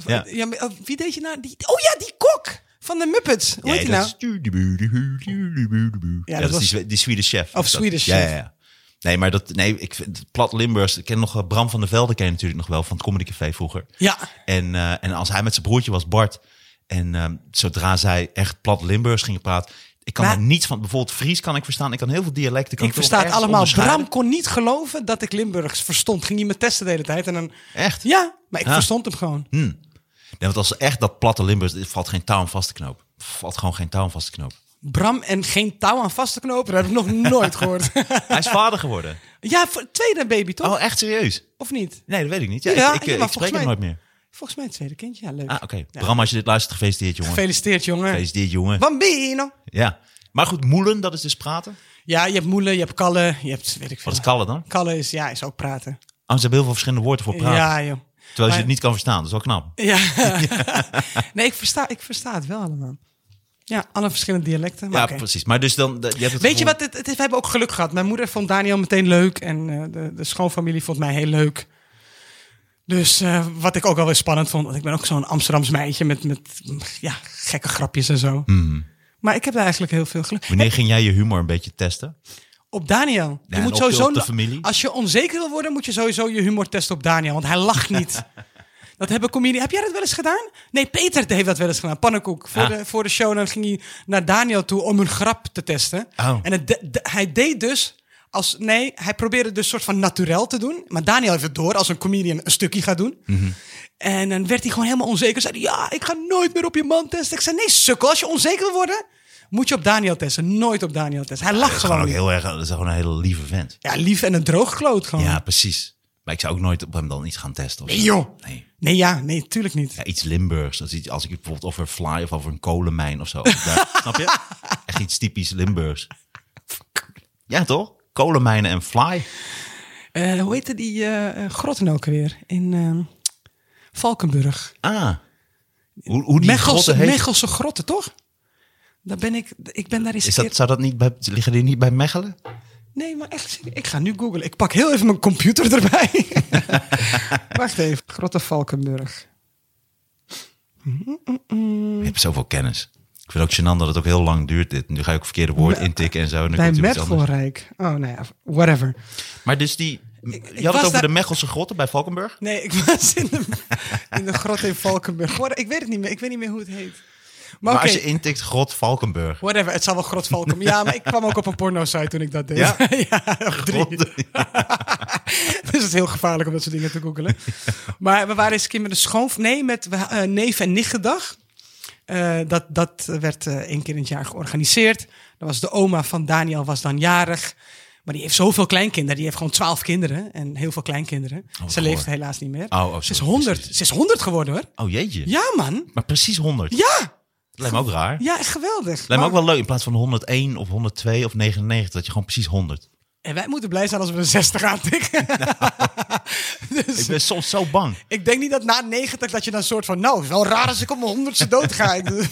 S2: Ja.
S3: ja.
S2: maar, eh, wie deed je nou? Die, oh ja, die kok van de Muppets. Hoe heet die nou?
S3: Ja,
S2: dat was-
S3: dat is die, Zwe- die Swedish chef.
S2: Of
S3: Is dat?
S2: Swedish
S3: ja,
S2: chef.
S3: Ja, ja. Nee, maar dat, nee, ik vind het plat Limburgs. Ik ken nog eh, Bram van der Velde, ken je natuurlijk nog wel van het Comedy Café vroeger.
S2: Ja.
S3: En, eh, en als hij met zijn broertje was, Bart. En eh, zodra zij echt plat Limburgs gingen praten. Ik kan
S2: Maar-
S3: er niets van, bijvoorbeeld Fries kan ik verstaan. Ik kan heel veel dialecten. Kan
S2: Ik versta het
S3: ergens
S2: allemaal.
S3: onderscheiden.
S2: Bram kon niet geloven dat ik Limburgs verstond. Ging hij me testen de hele tijd. En dan,
S3: Echt? Hm.
S2: ja, maar ik
S3: Ja.
S2: verstond hem gewoon.
S3: Nee, want als echt dat platte Limburgs, dit valt geen taal aan vast te knopen. valt gewoon geen touw aan vast te knopen.
S2: Bram en geen touw aan vast te knopen, dat heb ik nog nooit gehoord.
S3: Hij is vader geworden.
S2: ja, voor tweede baby toch?
S3: Oh, echt serieus?
S2: Of niet?
S3: Nee, dat weet ik niet. Ja,
S2: Ja,
S3: ik, ik,
S2: ja, maar
S3: ik spreek
S2: volgens
S3: hem
S2: mij-
S3: nooit meer.
S2: Volgens mij het tweede kindje, ja leuk.
S3: Ah, oké. Bram, als je dit luistert, gefeliciteerd, jongen.
S2: Gefeliciteerd jongen.
S3: Gefeliciteerd, jongen.
S2: Bambino.
S3: Ja. Maar goed, moelen, dat is dus praten.
S2: Ja, je hebt moelen, je hebt kallen, je hebt weet ik veel.
S3: Wat is kallen dan?
S2: Kallen is, ja, is ook praten.
S3: Oh, ze hebben heel veel verschillende woorden voor praten.
S2: Ja joh.
S3: terwijl je
S2: maar-
S3: het niet kan verstaan. Dat is wel knap.
S2: Ja. nee, ik versta, ik versta het wel allemaal. Ja, alle verschillende dialecten. Maar
S3: Ja,
S2: oké.
S3: precies. Maar dus dan... Je hebt het
S2: Weet je
S3: gevoel-
S2: wat, het, het is- we hebben ook geluk gehad. Mijn moeder vond Daniel meteen leuk en eh, de, de schoonfamilie vond mij heel leuk. Dus eh, wat ik ook wel weer spannend vond, want ik ben ook zo'n Amsterdams meisje met, met ja, gekke grapjes en zo.
S3: Hmm.
S2: Maar ik heb daar eigenlijk heel veel geluk.
S3: Wanneer ging jij je humor een beetje testen?
S2: Op Daniel.
S3: Ja,
S2: je
S3: en
S2: moet
S3: op-
S2: sowieso,
S3: op de familie.
S2: Als je onzeker wil worden, moet je sowieso je humor testen op Daniel, want hij lacht niet. Dat hebben comedians. Heb jij dat wel eens gedaan? Nee, Peter heeft dat wel eens gedaan. Pannenkoek. Voor,
S3: Ah.
S2: de, voor de show dan ging hij naar Daniel toe om een grap te testen.
S3: Oh.
S2: En het de- de- hij deed dus als. Nee, hij probeerde dus soort van naturel te doen. Maar Daniel heeft het door als een comedian een stukje gaat doen.
S3: Mhm.
S2: En dan werd hij gewoon helemaal onzeker. Zei hij, ja, ik ga nooit meer op je man testen. Ik zei, nee, sukkel. Als je onzeker wil worden, moet je op Daniel testen. Nooit op Daniel testen. Hij lacht
S3: Dat is
S2: gewoon.
S3: gewoon ook
S2: niet.
S3: heel erg... Dat is gewoon een hele lieve vent.
S2: Ja, lief en een droog kloot gewoon.
S3: Ja, precies. Maar ik zou ook nooit op hem dan iets gaan testen. Of
S2: Oh. Nee,
S3: zo.
S2: joh.
S3: Nee.
S2: Nee, ja, nee, tuurlijk niet.
S3: Ja, iets Limburgs. Dat is iets, als ik bijvoorbeeld over fly of over een kolenmijn of zo. Als ik daar- snap je? Echt iets typisch Limburgs. Ja, toch? Kolenmijnen en fly.
S2: Eh, hoe heette die eh eh, grotten ook weer? In ehm, Valkenburg.
S3: Ah. Hoe, hoe die
S2: Mechelse,
S3: grotten heet.
S2: Mechelse grotten, toch? Daar ben ik, ik ben daar eens
S3: Is
S2: een
S3: dat, zou dat niet bij, liggen die niet bij Mechelen?
S2: keer- Nee, maar echt, serieus, ik ga nu googlen. Ik pak heel even mijn computer erbij. Wacht even, grotten Valkenburg. Mm.
S3: Je hebt zoveel kennis. Ik vind ook gênant dat het ook heel lang duurt dit. Nu ga je ook verkeerde woord intikken en zo. En dan
S2: Bij
S3: komt er iets anders.
S2: Mergelrijk. Oh, nou ja, whatever.
S3: Maar dus die...
S2: ik
S3: je had
S2: was
S3: het over
S2: daar-
S3: de Mechelse grotten bij Valkenburg?
S2: Nee, ik was in de, in de grot in Valkenburg. What- Ik weet het niet meer, ik weet niet meer hoe het heet.
S3: Maar,
S2: oké.
S3: als je intikt grot Valkenburg.
S2: Whatever, het zal wel grot valken. Ja, maar ik kwam ook op een porno-site toen ik dat deed.
S3: Ja?
S2: drie. dus het is heel gevaarlijk om dat soort dingen te googelen. Maar we waren eens een keer met een schoon... Nee, met eh, neef- en nichtgedag. Eh, dat, dat werd eh, één keer in het jaar georganiseerd. Dan was de oma van Daniel was dan jarig. Maar die heeft zoveel kleinkinderen. Die heeft gewoon twaalf kinderen en heel veel kleinkinderen.
S3: wat
S2: Ze leeft
S3: goor.
S2: helaas niet meer.
S3: Oh, oh, sorry.
S2: ze, is 100,
S3: Precies.
S2: ze is 100 geworden hoor.
S3: Oh jeetje.
S2: Ja man,
S3: Maar precies 100.
S2: ja.
S3: Dat lijkt me ook raar.
S2: Ja, echt geweldig.
S3: Lijkt me
S2: Maar-
S3: ook wel leuk in plaats van 101 of 102 of 99, dat je gewoon precies 100.
S2: En wij moeten blij zijn als we een 60 aantikken. dus
S3: Ik
S2: ik,
S3: ben soms zo bang.
S2: Dus denk niet dat na 90 dat je dan soort van... Nou, het is wel raar als ik op mijn honderdste dood ga. Ik-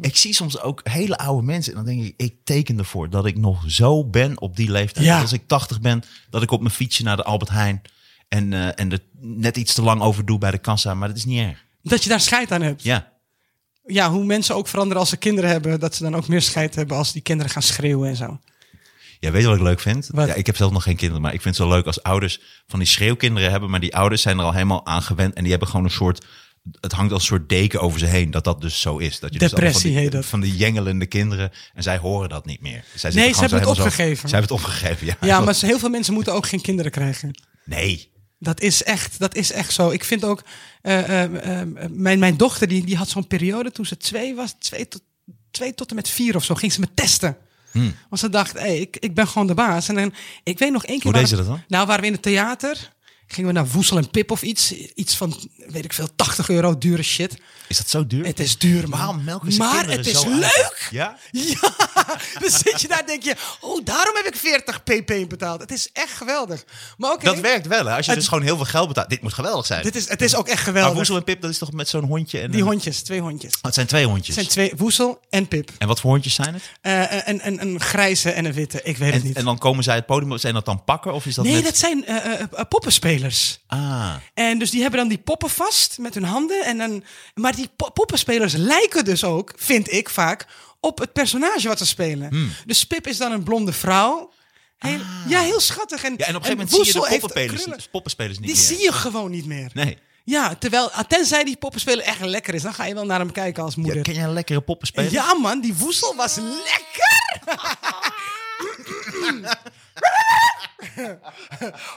S3: Ik zie soms ook hele oude mensen en dan denk ik, ik teken ervoor dat ik nog zo ben op die leeftijd.
S2: Ja.
S3: Als ik 80 ben, dat ik op mijn fietsje naar de Albert Heijn en, eh, en er net iets te lang over doe bij de kassa, maar dat is niet erg.
S2: dat je daar scheid aan hebt.
S3: Ja,
S2: Ja, hoe mensen ook veranderen als ze kinderen hebben. Dat ze dan ook meer scheid hebben als die kinderen gaan schreeuwen en zo.
S3: jij weet wat ik leuk vind?
S2: Wat?
S3: Ja, ik heb zelf nog geen kinderen, maar ik vind het zo leuk als ouders van die schreeuwkinderen hebben, maar die ouders zijn er al helemaal aan gewend en die hebben gewoon een soort... Het hangt als een soort deken over ze heen dat dat dus zo is. Dat je dus allemaal
S2: Depressie
S3: van die,
S2: heet dat.
S3: Van die jengelende kinderen. En zij horen dat niet meer. Zij zitten
S2: Nee,
S3: gewoon
S2: ze hebben
S3: zo
S2: het
S3: helemaal zo-
S2: opgegeven.
S3: Zij hebben het opgegeven, ja.
S2: Ja, maar heel veel mensen moeten ook geen kinderen krijgen.
S3: Nee.
S2: Dat is echt, dat is echt zo. Ik vind ook, eh, eh, eh, mijn, mijn dochter die, die had zo'n periode toen ze twee was, twee tot, twee tot en met vier of zo, ging ze me testen.
S3: Hmm.
S2: Want ze dacht, hey, ik, ik ben gewoon de baas. En dan, ik weet nog één keer...
S3: Hoe
S2: waren-
S3: deed ze dat dan?
S2: Nou, waren we in het theater, gingen we naar Woesel en Pip of iets. Iets van, weet ik veel, 80 euro dure shit.
S3: Is dat zo duur?
S2: Het is duur, man.
S3: Waarom melken ze
S2: maar
S3: kinderen
S2: het is
S3: zo uit?
S2: leuk!
S3: Ja?
S2: Ja, dan zit je daar denk je, oh, daarom heb ik 40 pp betaald. Het is echt geweldig. Maar oké,
S3: Dat werkt wel, hè? Als je
S2: Het-
S3: dus gewoon heel veel geld betaalt. Dit moet geweldig zijn.
S2: dit is, het is ook echt
S3: maar
S2: geweldig.
S3: Woezel en Pip, dat is toch met zo'n hondje? En
S2: Die
S3: een-
S2: hondjes, twee hondjes.
S3: Oh, het zijn twee hondjes.
S2: Het zijn twee, Woesel en Pip.
S3: En wat voor hondjes zijn het?
S2: Eh, een, een, een grijze en een witte, ik weet het
S3: En,
S2: niet.
S3: en dan komen zij het podium op. Zijn dat dan pakken of is dat
S2: nee,
S3: met...
S2: dat zijn eh, eh, eh, poppenspelers.
S3: Ah,
S2: En dus die hebben dan die poppen vast met hun handen. En dan, maar die po- poppenspelers lijken dus ook, vind ik vaak, op het personage wat ze spelen.
S3: Hmm.
S2: Dus Pip is dan een blonde vrouw. Heel, Ja, heel schattig. En,
S3: Ah. ja, en op een gegeven moment
S2: Woesel
S3: zie je de
S2: heeft
S3: poppenspelers,
S2: krullen.
S3: niet- poppenspelers niet
S2: Die
S3: meer.
S2: zie je gewoon niet meer.
S3: Nee.
S2: Ja, terwijl, tenzij die poppenspeler echt lekker is, dan ga je wel naar hem kijken als
S3: Ja,
S2: moeder.
S3: ken jij een lekkere poppenspeler?
S2: Ja, man, die woesel was lekker.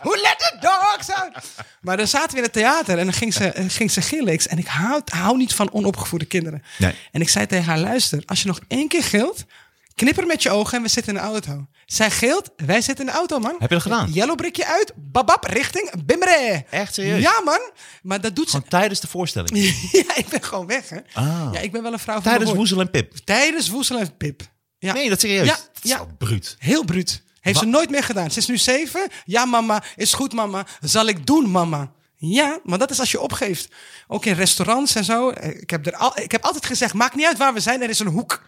S2: Who let the dogs out? Maar dan zaten we in het theater en dan ging ze, eh, ging ze gillen. Ik- En ik hou, hou niet van onopgevoede kinderen.
S3: Nee.
S2: En ik zei tegen haar, luister, als je nog één keer gilt, knipper met je ogen en we zitten in de auto. Zij gilt, wij zitten in de auto, man. Eh,
S3: Heb je dat gedaan?
S2: Yellow brickje uit, babab, richting Bimre.
S3: Echt serieus?
S2: Ja, man. Maar dat doet ze...
S3: Gewoon tijdens de voorstelling.
S2: ja, ik ben gewoon weg, hè.
S3: Ah.
S2: Ja, ik ben wel een vrouw van
S3: Tijdens
S2: mijn woord.
S3: Woezel en Pip.
S2: Tijdens Woesel en Pip. Ja.
S3: Nee, dat serieus.
S2: Ja,
S3: Dat is
S2: ja.
S3: wel bruut.
S2: Heel bruut. Heeft
S3: Wa-
S2: ze nooit meer gedaan. Ze is nu zeven. Ja, mama. Is goed, mama. Zal ik doen, mama. Ja, maar dat is als je opgeeft. Ook in restaurants en zo. Eh, Ik heb, er al, ik heb altijd gezegd, maakt niet uit waar we zijn, er is een hoek.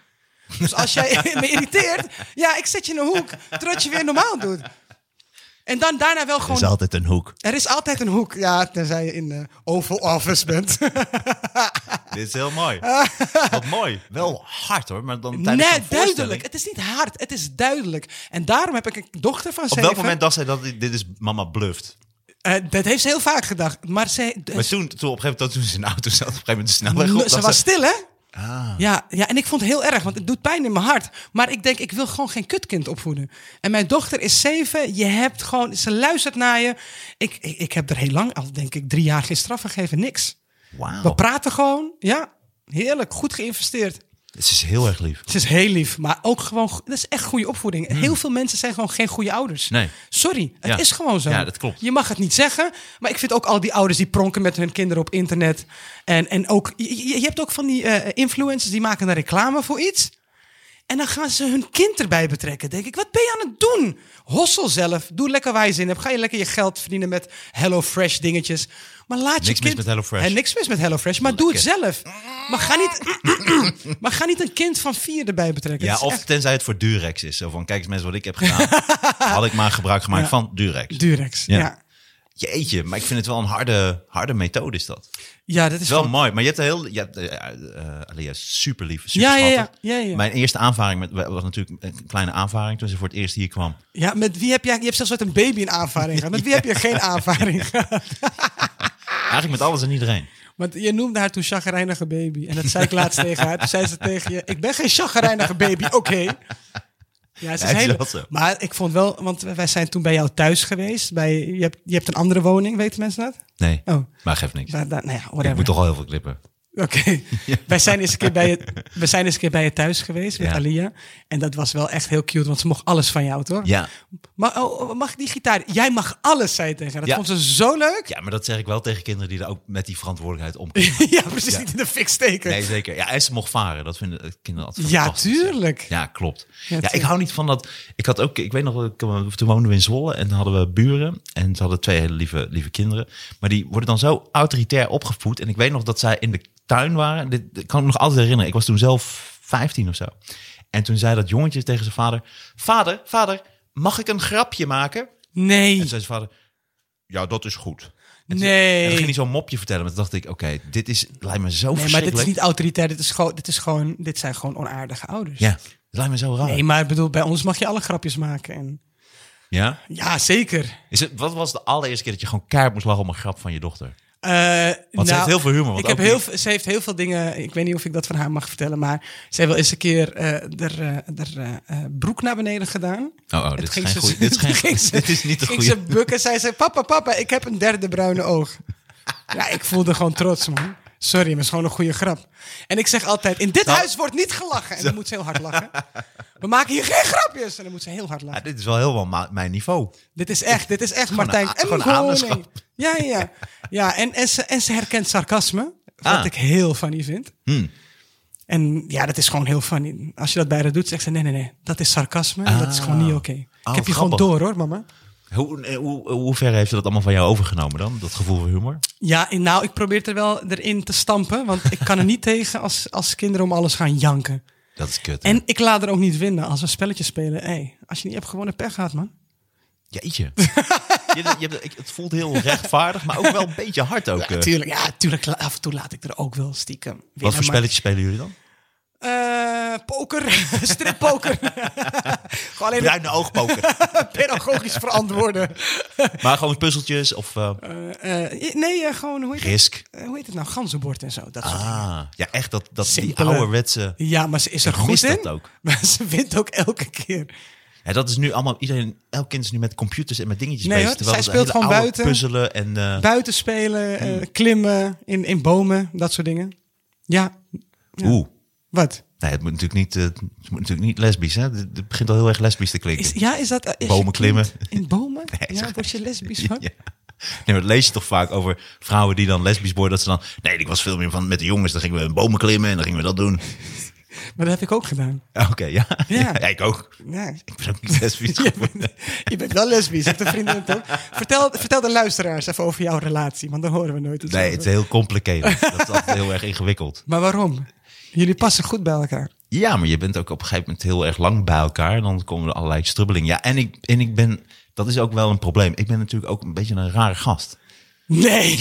S2: Dus als jij me irriteert, ja, ik zet je in een hoek. Totdat je weer normaal doet. En dan daarna wel
S3: Er is
S2: gewoon...
S3: altijd een hoek.
S2: Er is altijd een hoek. Ja, tenzij je in de Oval Office bent.
S3: Dit is heel mooi. Wat mooi. Wel hard hoor, maar dan tijdens
S2: Nee,
S3: zo'n voorstelling-
S2: duidelijk. Het is niet hard. Het is duidelijk. En daarom heb ik een dochter van
S3: Op
S2: zeven.
S3: welk moment dacht zij dat dit dit is mama bluft?
S2: Eh, dat heeft ze heel vaak gedacht. Maar ze, eh,
S3: Maar toen, toen, op een gegeven moment, toen ze in de auto zat, op een gegeven moment de snelweg op.
S2: ze,
S3: dacht
S2: was stil, hè?
S3: Ah.
S2: Ja, ja, en ik vond het heel erg, want het doet pijn in mijn hart. Maar ik denk, ik wil gewoon geen kutkind opvoeden. En mijn dochter is zeven, je hebt gewoon, ze luistert naar je. Ik, ik, ik heb er heel lang, al denk ik drie jaar, geen straf gegeven, niks. We
S3: Wauw.
S2: praten gewoon, ja, heerlijk, goed geïnvesteerd.
S3: Dit is heel erg lief. Hmm.
S2: Ze is heel lief, maar ook gewoon, go- dat is echt goede opvoeding. Heel veel mensen zijn gewoon geen goede ouders.
S3: Nee.
S2: Sorry, het
S3: Ja.
S2: is gewoon zo.
S3: Ja, dat klopt.
S2: Je mag het niet zeggen, maar ik vind ook al die ouders die pronken met hun kinderen op internet. En, en ook, je, je- je hebt ook van die eh, influencers die maken daar reclame voor iets. En dan gaan ze hun kind erbij betrekken. Denk ik, wat ben je aan het doen? Hossel zelf, doe lekker waar je zin in hebt. Ga je lekker je geld verdienen met HelloFresh dingetjes. Maar laat je
S3: Niks mis
S2: kind...
S3: met HelloFresh.
S2: Hè, niks mis met HelloFresh, maar doe het zelf. Maar ga niet, maar ga niet een kind van vier erbij betrekken.
S3: Ja,
S2: Het is
S3: of
S2: echt
S3: tenzij het voor Durex is. Zo van, kijk eens mensen wat ik heb gedaan. had ik maar gebruik gemaakt
S2: Ja.
S3: van Durex.
S2: Durex. Ja.
S3: Ja.
S2: Ja.
S3: Jeetje, maar ik vind het wel een harde, harde methode is dat.
S2: dat is
S3: Het is wel
S2: gewoon-
S3: mooi, maar je hebt een heel... Je hebt, eh, eh, Alia is super lief, super
S2: Ja, ja, ja.
S3: schattig.
S2: Ja, ja.
S3: Mijn eerste aanvaring met, was natuurlijk een kleine aanvaring toen ze voor het eerst hier kwam.
S2: Ja, met wie heb jij... Je hebt zelfs met een baby een aanvaring gehad. Met wie heb je geen aanvaring gehad?
S3: Eigenlijk met alles en iedereen.
S2: Want je noemde haar toen chagrijnige baby. En dat zei ik laatst tegen haar. Toen zei ze tegen je, ik ben geen chagrijnige baby, oké. Ja, ze
S3: het is
S2: is heel...
S3: wel zo.
S2: Maar ik vond wel, want wij zijn toen bij jou thuis geweest. Bij, je, hebt, je hebt een andere woning, weten mensen dat?
S3: Nee,
S2: Oh.
S3: maar geeft niks.
S2: Daar, daar, nou ja,
S3: Ik
S2: whatever.
S3: moet toch al heel veel klippen.
S2: Oké. Wij zijn eens een keer bij je, we zijn eens een keer bij je thuis geweest met
S3: Ja.
S2: Alia. En dat was wel echt heel cute, want ze mocht alles van jou, toch?
S3: Ja.
S2: Maar oh, oh, mag ik die gitaar? Jij mag alles, zei je tegen haar. Dat
S3: Ja.
S2: vond ze zo leuk.
S3: ja, maar dat zeg ik wel tegen kinderen die daar ook met die verantwoordelijkheid omgaan.
S2: ja, precies.
S3: Ja.
S2: Niet in de fik steken.
S3: Nee, zeker. Ja, en ze mocht varen. Dat vinden kinderen altijd
S2: Ja,
S3: fantastisch.
S2: tuurlijk.
S3: Ja, klopt. Ja, ik
S2: tuurlijk.
S3: hou niet van dat... Ik had ook... Ik weet nog, ik, eh, toen woonden we in Zwolle en toen hadden we buren. En ze hadden twee hele lieve, lieve kinderen. Maar die worden dan zo autoritair opgevoed. En ik weet nog dat zij in de tuin waren. Dit, dit kan ik me nog altijd herinneren. Ik was toen zelf 15 of zo. En toen zei dat jongetje tegen zijn vader... Vader, vader, mag ik een grapje maken?
S2: Nee.
S3: En toen zei zijn vader, ja, dat is goed. En toen-
S2: Nee.
S3: En dan ging hij zo'n mopje vertellen. Maar toen dacht ik, oké, dit is, lijkt me zo
S2: Nee, maar
S3: verschrikkelijk.
S2: dit is niet autoritair. Dit, is gewoon, dit, is gewoon, dit zijn gewoon onaardige ouders.
S3: Ja, dat lijkt me zo raar.
S2: Nee, maar ik bedoel, bij ons mag je alle grapjes maken. En...
S3: Ja?
S2: Ja, zeker.
S3: Is het, wat was de allereerste keer dat je gewoon keihard moest lachen om een grap van je dochter?
S2: Eh,
S3: Want ze
S2: nou,
S3: heeft heel veel humor. want
S2: Ik heb
S3: ook
S2: heel,
S3: die-
S2: veel- ze heeft heel veel dingen. Ik weet niet of ik dat van haar mag vertellen. Maar ze heeft wel eens een keer eh er, broek naar beneden gedaan.
S3: Oh, oh
S2: En
S3: dit, is
S2: toen
S3: geen
S2: ging
S3: goeie,
S2: ze-
S3: dit, is geen,
S2: toen ging ze-
S3: dit is niet de
S2: ging
S3: goede.
S2: ze bukken. Zij zei, papa, papa, ik heb een derde bruine oog. ja, ik voelde gewoon trots, man. Sorry, maar het is gewoon een goede grap. En ik zeg altijd, in dit
S3: Nou.
S2: huis wordt niet gelachen. En dan moet ze heel hard lachen. We maken hier geen grapjes. En dan moet ze heel hard
S3: Ja,
S2: lachen.
S3: dit is wel heel wel ma- mijn niveau.
S2: Dit is echt, dit is echt Martijn.
S3: a-
S2: en
S3: gewoon
S2: Koning.
S3: aderschap.
S2: Ja, ja, ja. ja en, en, ze, en ze herkent sarcasme. Wat
S3: Ah.
S2: ik heel funny vind.
S3: Hm.
S2: En ja, dat is gewoon heel funny. Als je dat bij haar doet, zegt ze, nee, nee, nee. Dat is sarcasme. en Dat is gewoon niet oké.
S3: Oh,
S2: ik heb je gewoon
S3: grappig.
S2: door, hoor, mama.
S3: Hoe, eh, hoe, hoe ver heeft ze dat allemaal van jou overgenomen dan? Dat gevoel voor humor?
S2: Ja, en nou, ik probeer het er wel erin te stampen. Want ik kan er niet tegen als, als kinderen om alles gaan janken.
S3: Dat is kut. hè?
S2: En ik laat er ook niet winnen als we spelletjes spelen. Hey, als je niet hebt gewonnen, pech gehad, man.
S3: Jeetje. je, je hebt, ik, het voelt heel rechtvaardig, maar ook wel een beetje hard ook. eh.
S2: Tuurlijk, ja, tuurlijk. la- Af en toe laat ik er ook wel stiekem winnen.
S3: Wat voor
S2: maar-
S3: spelletjes spelen jullie dan?
S2: Eh, poker. Strippoker. Gewoon alleen
S3: Bruine oogpoker.
S2: maar pedagogisch verantwoorden.
S3: maar gewoon puzzeltjes of eh,
S2: Eh, eh, nee, eh, gewoon, hoe heet, het?
S3: risk.
S2: Eh, hoe heet het nou? Ganzenbord en zo. Dat soort dingen.
S3: Ah, ja, echt dat, dat die
S2: Simpele.
S3: ouderwetse...
S2: Ja, maar ze is er goed
S3: mis
S2: in.
S3: dat ook.
S2: Maar ze wint ook elke keer.
S3: Ja, Ja, dat is nu allemaal, iedereen, elk kind is nu met computers en met dingetjes
S2: Nee,
S3: bezig.
S2: hoor, zij
S3: het
S2: speelt
S3: hele
S2: gewoon
S3: oude
S2: buiten.
S3: Puzzelen en... eh,
S2: Buiten spelen, eh, klimmen, in, in bomen, dat soort dingen. Ja,
S3: Oeh.
S2: wat?
S3: Nee, het moet natuurlijk niet, eh, het moet natuurlijk niet lesbisch, hè? Het het begint al heel erg lesbisch te klinken.
S2: Is, ja, is dat... eh, is je
S3: Bomen
S2: kind
S3: klimmen.
S2: In bomen?
S3: Nee,
S2: ja,
S3: zeg-
S2: word je lesbisch
S3: Ja.
S2: van?
S3: Nee, maar dat lees je toch vaak over vrouwen die dan lesbisch worden. Dat ze dan, nee, ik was veel meer van met de jongens. Dan gingen we in bomen klimmen en dan gingen we dat doen.
S2: Maar dat heb ik ook gedaan.
S3: Ja, Oké, ja.
S2: Ja.
S3: Ja. ik ook.
S2: Ja.
S3: Ik ben ook niet lesbisch. geworden.
S2: Je bent wel lesbisch, hebt een vriendin toch? Vertel, vertel de luisteraars even over jouw relatie, want dan horen we nooit iets
S3: nee,
S2: over.
S3: het is heel complicated. Dat is altijd heel erg ingewikkeld.
S2: Maar waarom? Jullie passen goed bij elkaar.
S3: Ja, maar je bent ook op een gegeven moment heel erg lang bij elkaar. En dan komen er allerlei strubbelingen. Ja, en ik, en ik ben... Dat is ook wel een probleem. Ik ben natuurlijk ook een beetje een rare gast.
S2: Nee.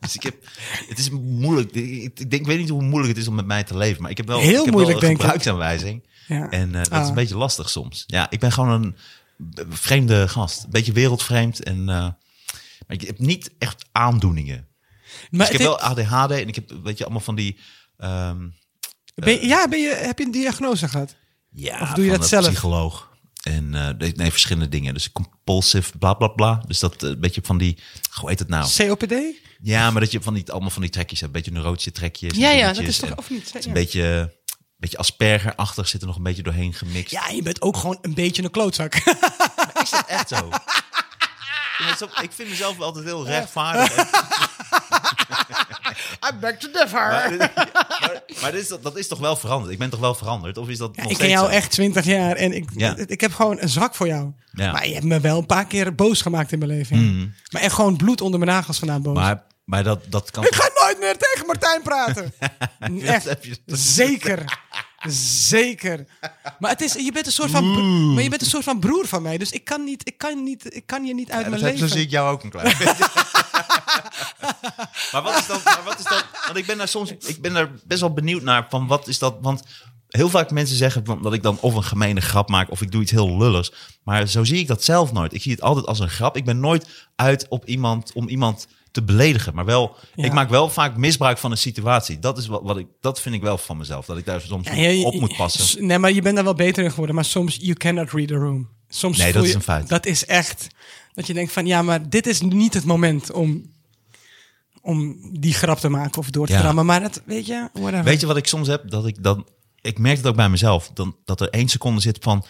S3: Dus ik heb, het is moeilijk. Ik, ik, denk, ik weet niet hoe moeilijk het is om met mij te leven. Maar ik heb wel,
S2: Heel
S3: ik heb wel
S2: moeilijk,
S3: een
S2: denk ik.
S3: gebruiksaanwijzing.
S2: Ja.
S3: En eh, dat
S2: Ah.
S3: is een beetje lastig soms. Ja, ik ben gewoon een vreemde gast. Een beetje wereldvreemd. En, eh, maar ik heb niet echt aandoeningen.
S2: Maar
S3: dus
S2: het-
S3: ik heb wel ADHD en ik heb weet je, allemaal van die... ehm,
S2: ben je- ja, ben je, heb je een diagnose gehad?
S3: ja,
S2: Of doe je dat
S3: van een
S2: zelf?
S3: psycholoog. En eh, nee, nee, verschillende dingen. Dus compulsive bla bla bla. Dus dat eh, een beetje van die... goh, Hoe heet het nou?
S2: COPD?
S3: Ja, maar dat je van die, allemaal van die trekjes hebt. Een beetje neurotische trekjes. en
S2: Ja, ja, dat
S3: dingetjes
S2: is toch...
S3: en-
S2: Of niet?
S3: Het eh, is een beetje, een beetje aspergerachtig, zit er nog een beetje doorheen gemixt.
S2: Ja, je bent ook gewoon een beetje een klootzak.
S3: is dat echt zo? Ja, het is ook- ik vind mezelf wel altijd heel rechtvaardig. En-
S4: I'm back to Dever.
S3: Maar, maar, maar dit is, dat is toch wel veranderd? Ik ben toch wel veranderd? Of is dat nog
S2: ik ken
S3: steeds
S2: jou
S3: zo?
S2: echt twintig jaar en ik,
S3: Ja.
S2: ik heb gewoon een zwak voor jou.
S3: Ja. Mm.
S2: Maar je hebt me wel een paar keer boos gemaakt in mijn leven. Maar echt gewoon bloed onder mijn nagels vandaan boos.
S3: Maar, maar dat, dat kan...
S2: Ik ga nooit meer tegen Martijn praten. Echt.
S3: heb je-
S2: Zeker. Zeker. Maar het is, je bent een soort van, bro- maar je bent een soort van broer van mij. Dus ik kan, niet, ik kan, niet, ik kan je niet uit
S3: Ja, dat
S2: mijn
S3: heb-
S2: leven.
S3: Zo zie ik jou ook een klein beetje. maar, wat is dan, maar wat is dan... Want ik ben daar soms... Ik ben daar best wel benieuwd naar van wat is dat... Want heel vaak mensen zeggen van- dat ik dan of een gemene grap maak... of ik doe iets heel lulligs. Maar zo zie ik dat zelf nooit. Ik zie het altijd als een grap. Ik ben nooit uit op iemand om iemand te beledigen. Maar wel...
S2: Ja.
S3: Ik maak wel vaak misbruik van een situatie. Dat, is wat, wat ik, dat vind ik wel van mezelf. Dat ik daar soms
S2: Ja, je-
S3: op moet passen.
S2: S- Nee, maar je bent daar wel beter in geworden. Maar soms, you cannot read a room. Soms
S3: Nee, dat
S2: voel
S3: is
S2: je-
S3: een feit.
S2: Dat is echt, dat je denkt van, ja, maar dit is niet het moment om, om die grap te maken of door te
S3: Ja.
S2: rammen. Maar dat, weet je, whatever.
S3: Weet je wat ik soms heb? Dat ik dan. Ik merk het ook bij mezelf. Dan, dat er één seconde zit van.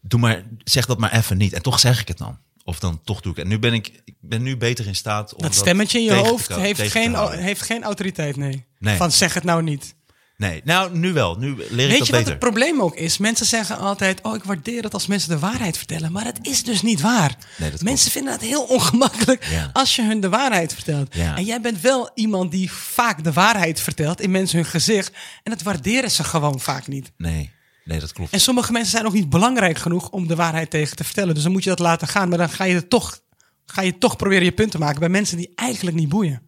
S3: Doe maar, zeg dat maar even niet. En toch zeg ik het dan. Of dan toch doe ik het. En nu ben ik, ik ben nu beter in staat. Om
S2: dat stemmetje in je
S3: tegen te
S2: hoofd
S3: ko-
S2: heeft
S3: tegen te
S2: geen,
S3: houden.
S2: heeft geen autoriteit, nee.
S3: Nee.
S2: Van zeg het nou niet.
S3: Nee, nou nu wel. Nu leer ik
S2: Weet
S3: dat
S2: je wat
S3: beter.
S2: het probleem ook is? Mensen zeggen altijd: Oh, ik waardeer het als mensen de waarheid vertellen. Maar het is dus niet waar.
S3: Nee, dat
S2: mensen vinden het heel ongemakkelijk
S3: Ja.
S2: als je hun de waarheid vertelt.
S3: Ja.
S2: En jij bent wel iemand die vaak de waarheid vertelt in mensen hun gezicht. En dat waarderen ze gewoon vaak niet.
S3: Nee, nee, dat klopt.
S2: En sommige mensen zijn ook niet belangrijk genoeg om de waarheid tegen te vertellen. Dus dan moet je dat laten gaan. Maar dan ga je, het toch, ga je toch proberen je punt te maken bij mensen die eigenlijk niet boeien.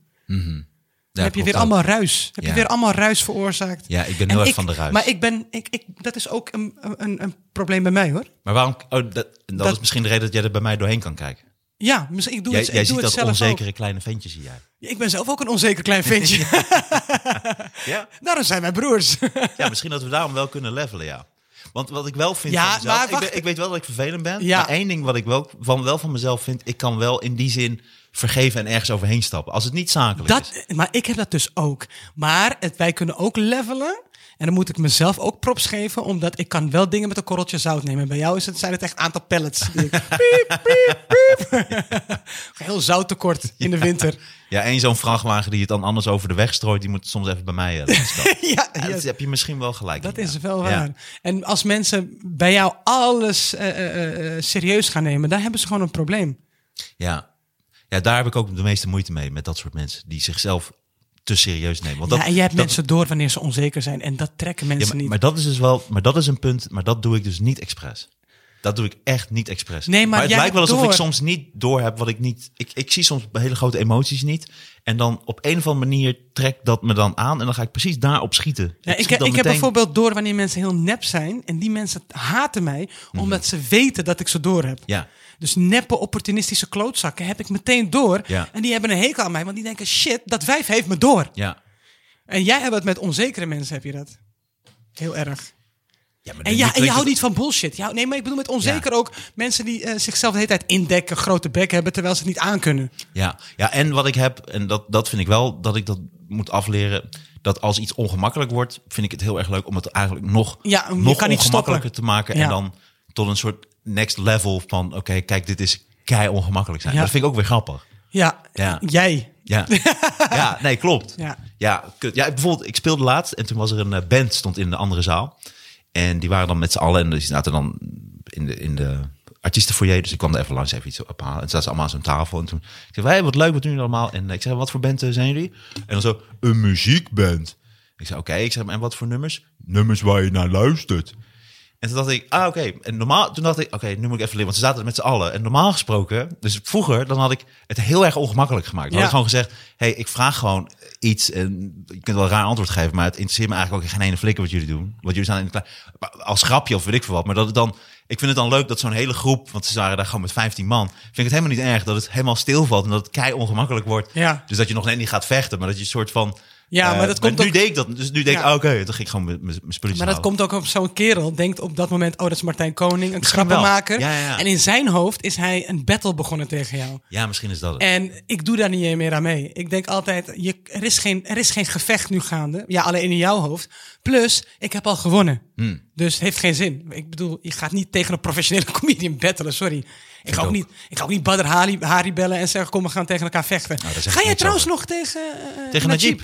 S3: Ja,
S2: Dan heb je
S3: klopt
S2: weer
S3: ook.
S2: allemaal ruis. Heb je
S3: Ja.
S2: weer allemaal ruis veroorzaakt.
S3: Ja, ik ben
S2: En
S3: heel erg van de ruis.
S2: Maar ik ben, ik, ik, dat is ook een, een, een probleem bij mij hoor.
S3: Maar waarom? Oh, dat, en dat
S2: Dat-
S3: is misschien de reden dat jij er bij mij doorheen kan kijken.
S2: Ja, misschien, ik doe
S3: Jij,
S2: het, ik
S3: jij
S2: doe
S3: ziet
S2: het
S3: dat
S2: zelf
S3: onzekere kleine ventje, zie jij.
S2: ook. Ik ben zelf ook een onzeker klein ventje.
S3: Ja?
S2: Daarom zijn wij broers.
S3: Ja, misschien dat we daarom wel kunnen levelen, ja. Want wat ik wel vind
S2: Ja,
S3: van mezelf...
S2: maar
S3: ik,
S2: wacht.
S3: ben- ik weet wel dat ik vervelend ben.
S2: Ja.
S3: Maar één ding wat ik wel van, wel van mezelf vind... Ik kan wel in die zin vergeven en ergens overheen stappen. Als het niet zakelijk is.
S2: dat, maar ik heb dat dus ook. Maar het, wij kunnen ook levelen. En dan moet ik mezelf ook props geven, omdat ik kan wel dingen met een korreltje zout nemen. Bij jou is het, zijn het echt aantal pellets. die ik- piep, piep, piep. Heel zouttekort in de winter.
S3: Ja, één zo'n vrachtwagen die het dan anders over de weg strooit... die moet soms even bij mij eh, laten stappen.
S2: ja,
S3: Ja,
S2: ja,
S3: Dat heb je misschien wel gelijk.
S2: Dat
S3: in,
S2: is
S3: ja.
S2: wel
S3: Ja.
S2: waar. En als mensen bij jou alles eh, eh, eh, serieus gaan nemen, dan hebben ze gewoon een probleem.
S3: Ja. ja, daar heb ik ook de meeste moeite mee. Met dat soort mensen die zichzelf te serieus nemen. Want
S2: ja,
S3: dat,
S2: en jij hebt
S3: dat-
S2: mensen door wanneer ze onzeker zijn. En dat trekken
S3: Ja,
S2: mensen
S3: maar,
S2: niet.
S3: maar dat is dus wel, maar dat is een punt, maar dat doe ik dus niet expres. Dat doe ik echt niet expres.
S2: Nee, maar
S3: het
S2: jij
S3: lijkt wel
S2: hebt
S3: alsof ik
S2: door.
S3: soms niet door heb wat ik niet. Ik, ik zie soms hele grote emoties niet. En dan op een of andere manier trekt dat me dan aan. En dan ga ik precies daarop schieten.
S2: ja, ik
S3: schiet
S2: ik
S3: dan
S2: heb
S3: meteen-
S2: bijvoorbeeld door wanneer mensen heel nep zijn. En die mensen haten mij, omdat ze weten dat ik ze door heb.
S3: Mhm. Ja,
S2: Dus neppe opportunistische klootzakken heb ik meteen door.
S3: Ja.
S2: En die hebben een hekel aan mij, want die denken: shit, dat wijf heeft me door.
S3: ja.
S2: En jij hebt het met onzekere mensen, heb je dat? Heel erg.
S3: Ja, maar
S2: En,
S3: nu- nu
S2: ja, en je
S3: klinkt
S2: houdt
S3: het-
S2: niet van bullshit. Ja, nee, maar ik bedoel met onzeker ook mensen die eh, zichzelf de hele tijd indekken, grote bek hebben, terwijl ze het niet aankunnen.
S3: Ja, ja en wat ik heb, en dat, dat vind ik wel dat ik dat moet afleren. Dat als iets ongemakkelijk wordt, vind ik het heel erg leuk om het eigenlijk nog,
S2: Ja, je
S3: nog
S2: kan niet
S3: ongemakkelijker te maken.
S2: Ja.
S3: En dan tot een soort next level van: oké, kijk, dit is kei ongemakkelijk zijn.
S2: Ja.
S3: Dat vind ik ook weer grappig.
S2: Ja,
S3: Ja.
S2: jij.
S3: Ja, ja nee, klopt.
S2: Ja.
S3: Ja. Ja, kut. ja, bijvoorbeeld, ik speelde laatst en toen was er een eh, band stond in de andere zaal. En die waren dan met z'n allen en dus die zaten dan in de, in de artiestenfoyer. Dus ik kwam er even langs even iets ophalen. En toen zaten ze allemaal aan zo'n tafel. En toen ik zei wij wat leuk, wat doen jullie allemaal? En eh, ik zei, wat voor band eh, zijn jullie? En dan zo, een muziekband. Ik zei, oké. Ik zei, en wat voor nummers? Nummers waar je naar luistert. En toen dacht ik, ah oké. En normaal, toen dacht ik, oké, nu moet ik even leren. Want ze zaten met z'n allen. En normaal gesproken, dus vroeger, dan had ik het heel erg ongemakkelijk gemaakt. Dan
S2: Ja.
S3: had ik gewoon gezegd, hé, hey, ik vraag gewoon iets. En je kunt wel een raar antwoord geven, maar het interesseert me eigenlijk ook geen ene flikker wat jullie doen. Wat jullie staan in de kla- maar als grapje of weet ik veel wat. Maar dat het dan, ik vind het dan leuk dat zo'n hele groep, want ze waren daar gewoon met 15 man. Vind ik het helemaal niet erg dat het helemaal stilvalt en dat het kei ongemakkelijk wordt.
S2: Ja.
S3: Dus dat je nog net niet gaat vechten, maar dat je een soort van...
S2: Ja,
S3: eh,
S2: maar dat komt
S3: nu
S2: ook-
S3: deed ik dat. Dus nu denk ik,
S2: Ja.
S3: ah, oké, dan ging ik gewoon mijn mijn- mijn spulletjes
S2: Maar dat
S3: halen.
S2: komt ook op zo'n kerel. Denkt op dat moment, oh, dat is Martijn Koning, een
S3: Misschien wel.
S2: grappenmaker.
S3: Ja, ja, ja.
S2: En in zijn hoofd is hij een battle begonnen tegen jou.
S3: Ja, misschien is dat het.
S2: En ik doe daar niet meer aan mee. Ik denk altijd, je, er, is geen, er is geen gevecht nu gaande. Ja, alleen in jouw hoofd. Plus, ik heb al gewonnen.
S3: Hmm.
S2: Dus het heeft geen zin. Ik bedoel, je gaat niet tegen een professionele comedian battelen, sorry. Ik ga,
S3: ik
S2: ook
S3: ook.
S2: niet, ik ga ook niet Badr Hari, Hari bellen en zeggen, kom, we gaan tegen elkaar vechten.
S3: Nou, daar zeg ik
S2: ga jij
S3: niks
S2: trouwens nog tegen, eh,
S3: Tegen Najib.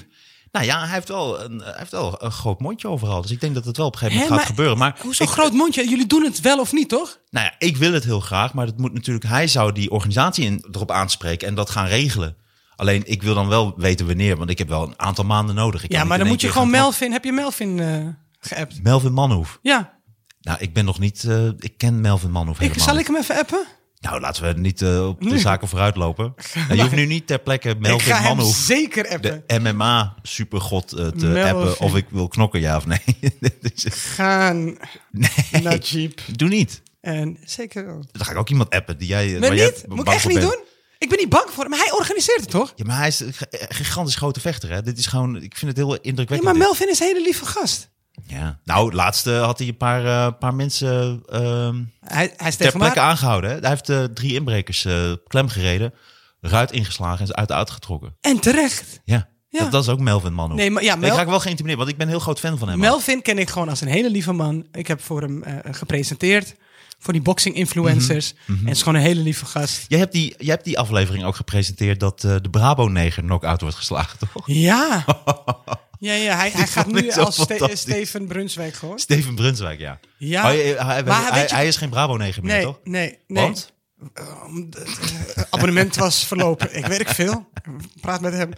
S3: Nou ja, hij heeft, wel een, hij heeft wel een groot mondje overal. Dus ik denk dat het wel op een gegeven
S2: Hè,
S3: moment gaat gebeuren. Maar
S2: Hoezo
S3: ik,
S2: groot mondje? Jullie doen het wel of niet, toch?
S3: Nou ja, ik wil het heel graag. Maar dat moet natuurlijk, hij zou die organisatie in, erop aanspreken en dat gaan regelen. Alleen ik wil dan wel weten wanneer. Want ik heb wel een aantal maanden nodig. Ik
S2: ja,
S3: kan niet
S2: maar dan
S3: in
S2: moet je
S3: één
S2: gewoon
S3: keer gaan
S2: Melvin... Heb je Melvin eh geappt?
S3: tra- Melvin Manhoef.
S2: Ja.
S3: Nou, ik ben nog niet... eh, ik ken Melvin Manhoef
S2: Ik,
S3: helemaal
S2: zal
S3: niet.
S2: ik hem even appen?
S3: Nou, laten we niet eh, op de zaken vooruit lopen. Nou, je hoeft nu niet ter plekke
S2: ik ga
S3: Melvin
S2: hem
S3: Manhoef
S2: zeker appen.
S3: de MMA-supergod eh, te
S2: Melvin.
S3: appen of ik wil knokken, ja of nee. Dus,
S2: gaan
S3: nee,
S2: naar Jeep.
S3: doe niet.
S2: En zeker wel.
S3: Dan ga ik ook iemand appen die jij... eh,
S2: Maar
S3: waar jij
S2: niet? Moet
S3: bang
S2: ik
S3: voor
S2: echt niet
S3: bent.
S2: doen? Ik ben niet bang voor hem. Maar hij organiseert het toch?
S3: Ja, maar hij is een g- een gigantisch grote vechter, hè? Dit is gewoon... Ik vind het heel
S2: Ja,
S3: indrukwekkend.
S2: maar
S3: dit.
S2: Melvin is een hele lieve gast.
S3: Ja. Nou, laatste had hij een paar, eh, paar mensen ehm,
S2: Hij, hij is
S3: ter
S2: tegen
S3: plekke
S2: mij.
S3: aangehouden. Hè? Hij heeft eh, drie inbrekers eh, klem gereden, ruit ingeslagen en ze uit de auto getrokken.
S2: En terecht.
S3: Ja.
S2: Ja.
S3: Dat, dat is ook Melvin Manhoef.
S2: Nee, maar ja,
S3: Ik
S2: Mel-
S3: ga ik wel geïntimideerd, want ik ben een heel groot fan van hem.
S2: Melvin ken ik gewoon als een hele lieve man. Ik heb voor hem eh, gepresenteerd. Voor die boxing-influencers.
S3: Mhm,
S2: En het is gewoon een hele lieve gast.
S3: Jij hebt, die, jij hebt die aflevering ook gepresenteerd dat eh, de Brabo-neger knock-out wordt geslagen, toch?
S2: Ja. Ja, ja hij, hij gaat
S3: vond
S2: nu
S3: ik zo
S2: als Ste-
S3: fantastisch.
S2: Steven Brunswijk gewoon.
S3: Steven Brunswijk, ja.
S2: Ja.
S3: Oh, hij, hij,
S2: Maar
S3: hij-
S2: weet je-
S3: hij is geen Brabo-neger meer,
S2: Nee,
S3: toch?
S2: nee, nee.
S3: Want?
S2: Het eh, abonnement was verlopen. Ik weet ik veel. Praat met hem.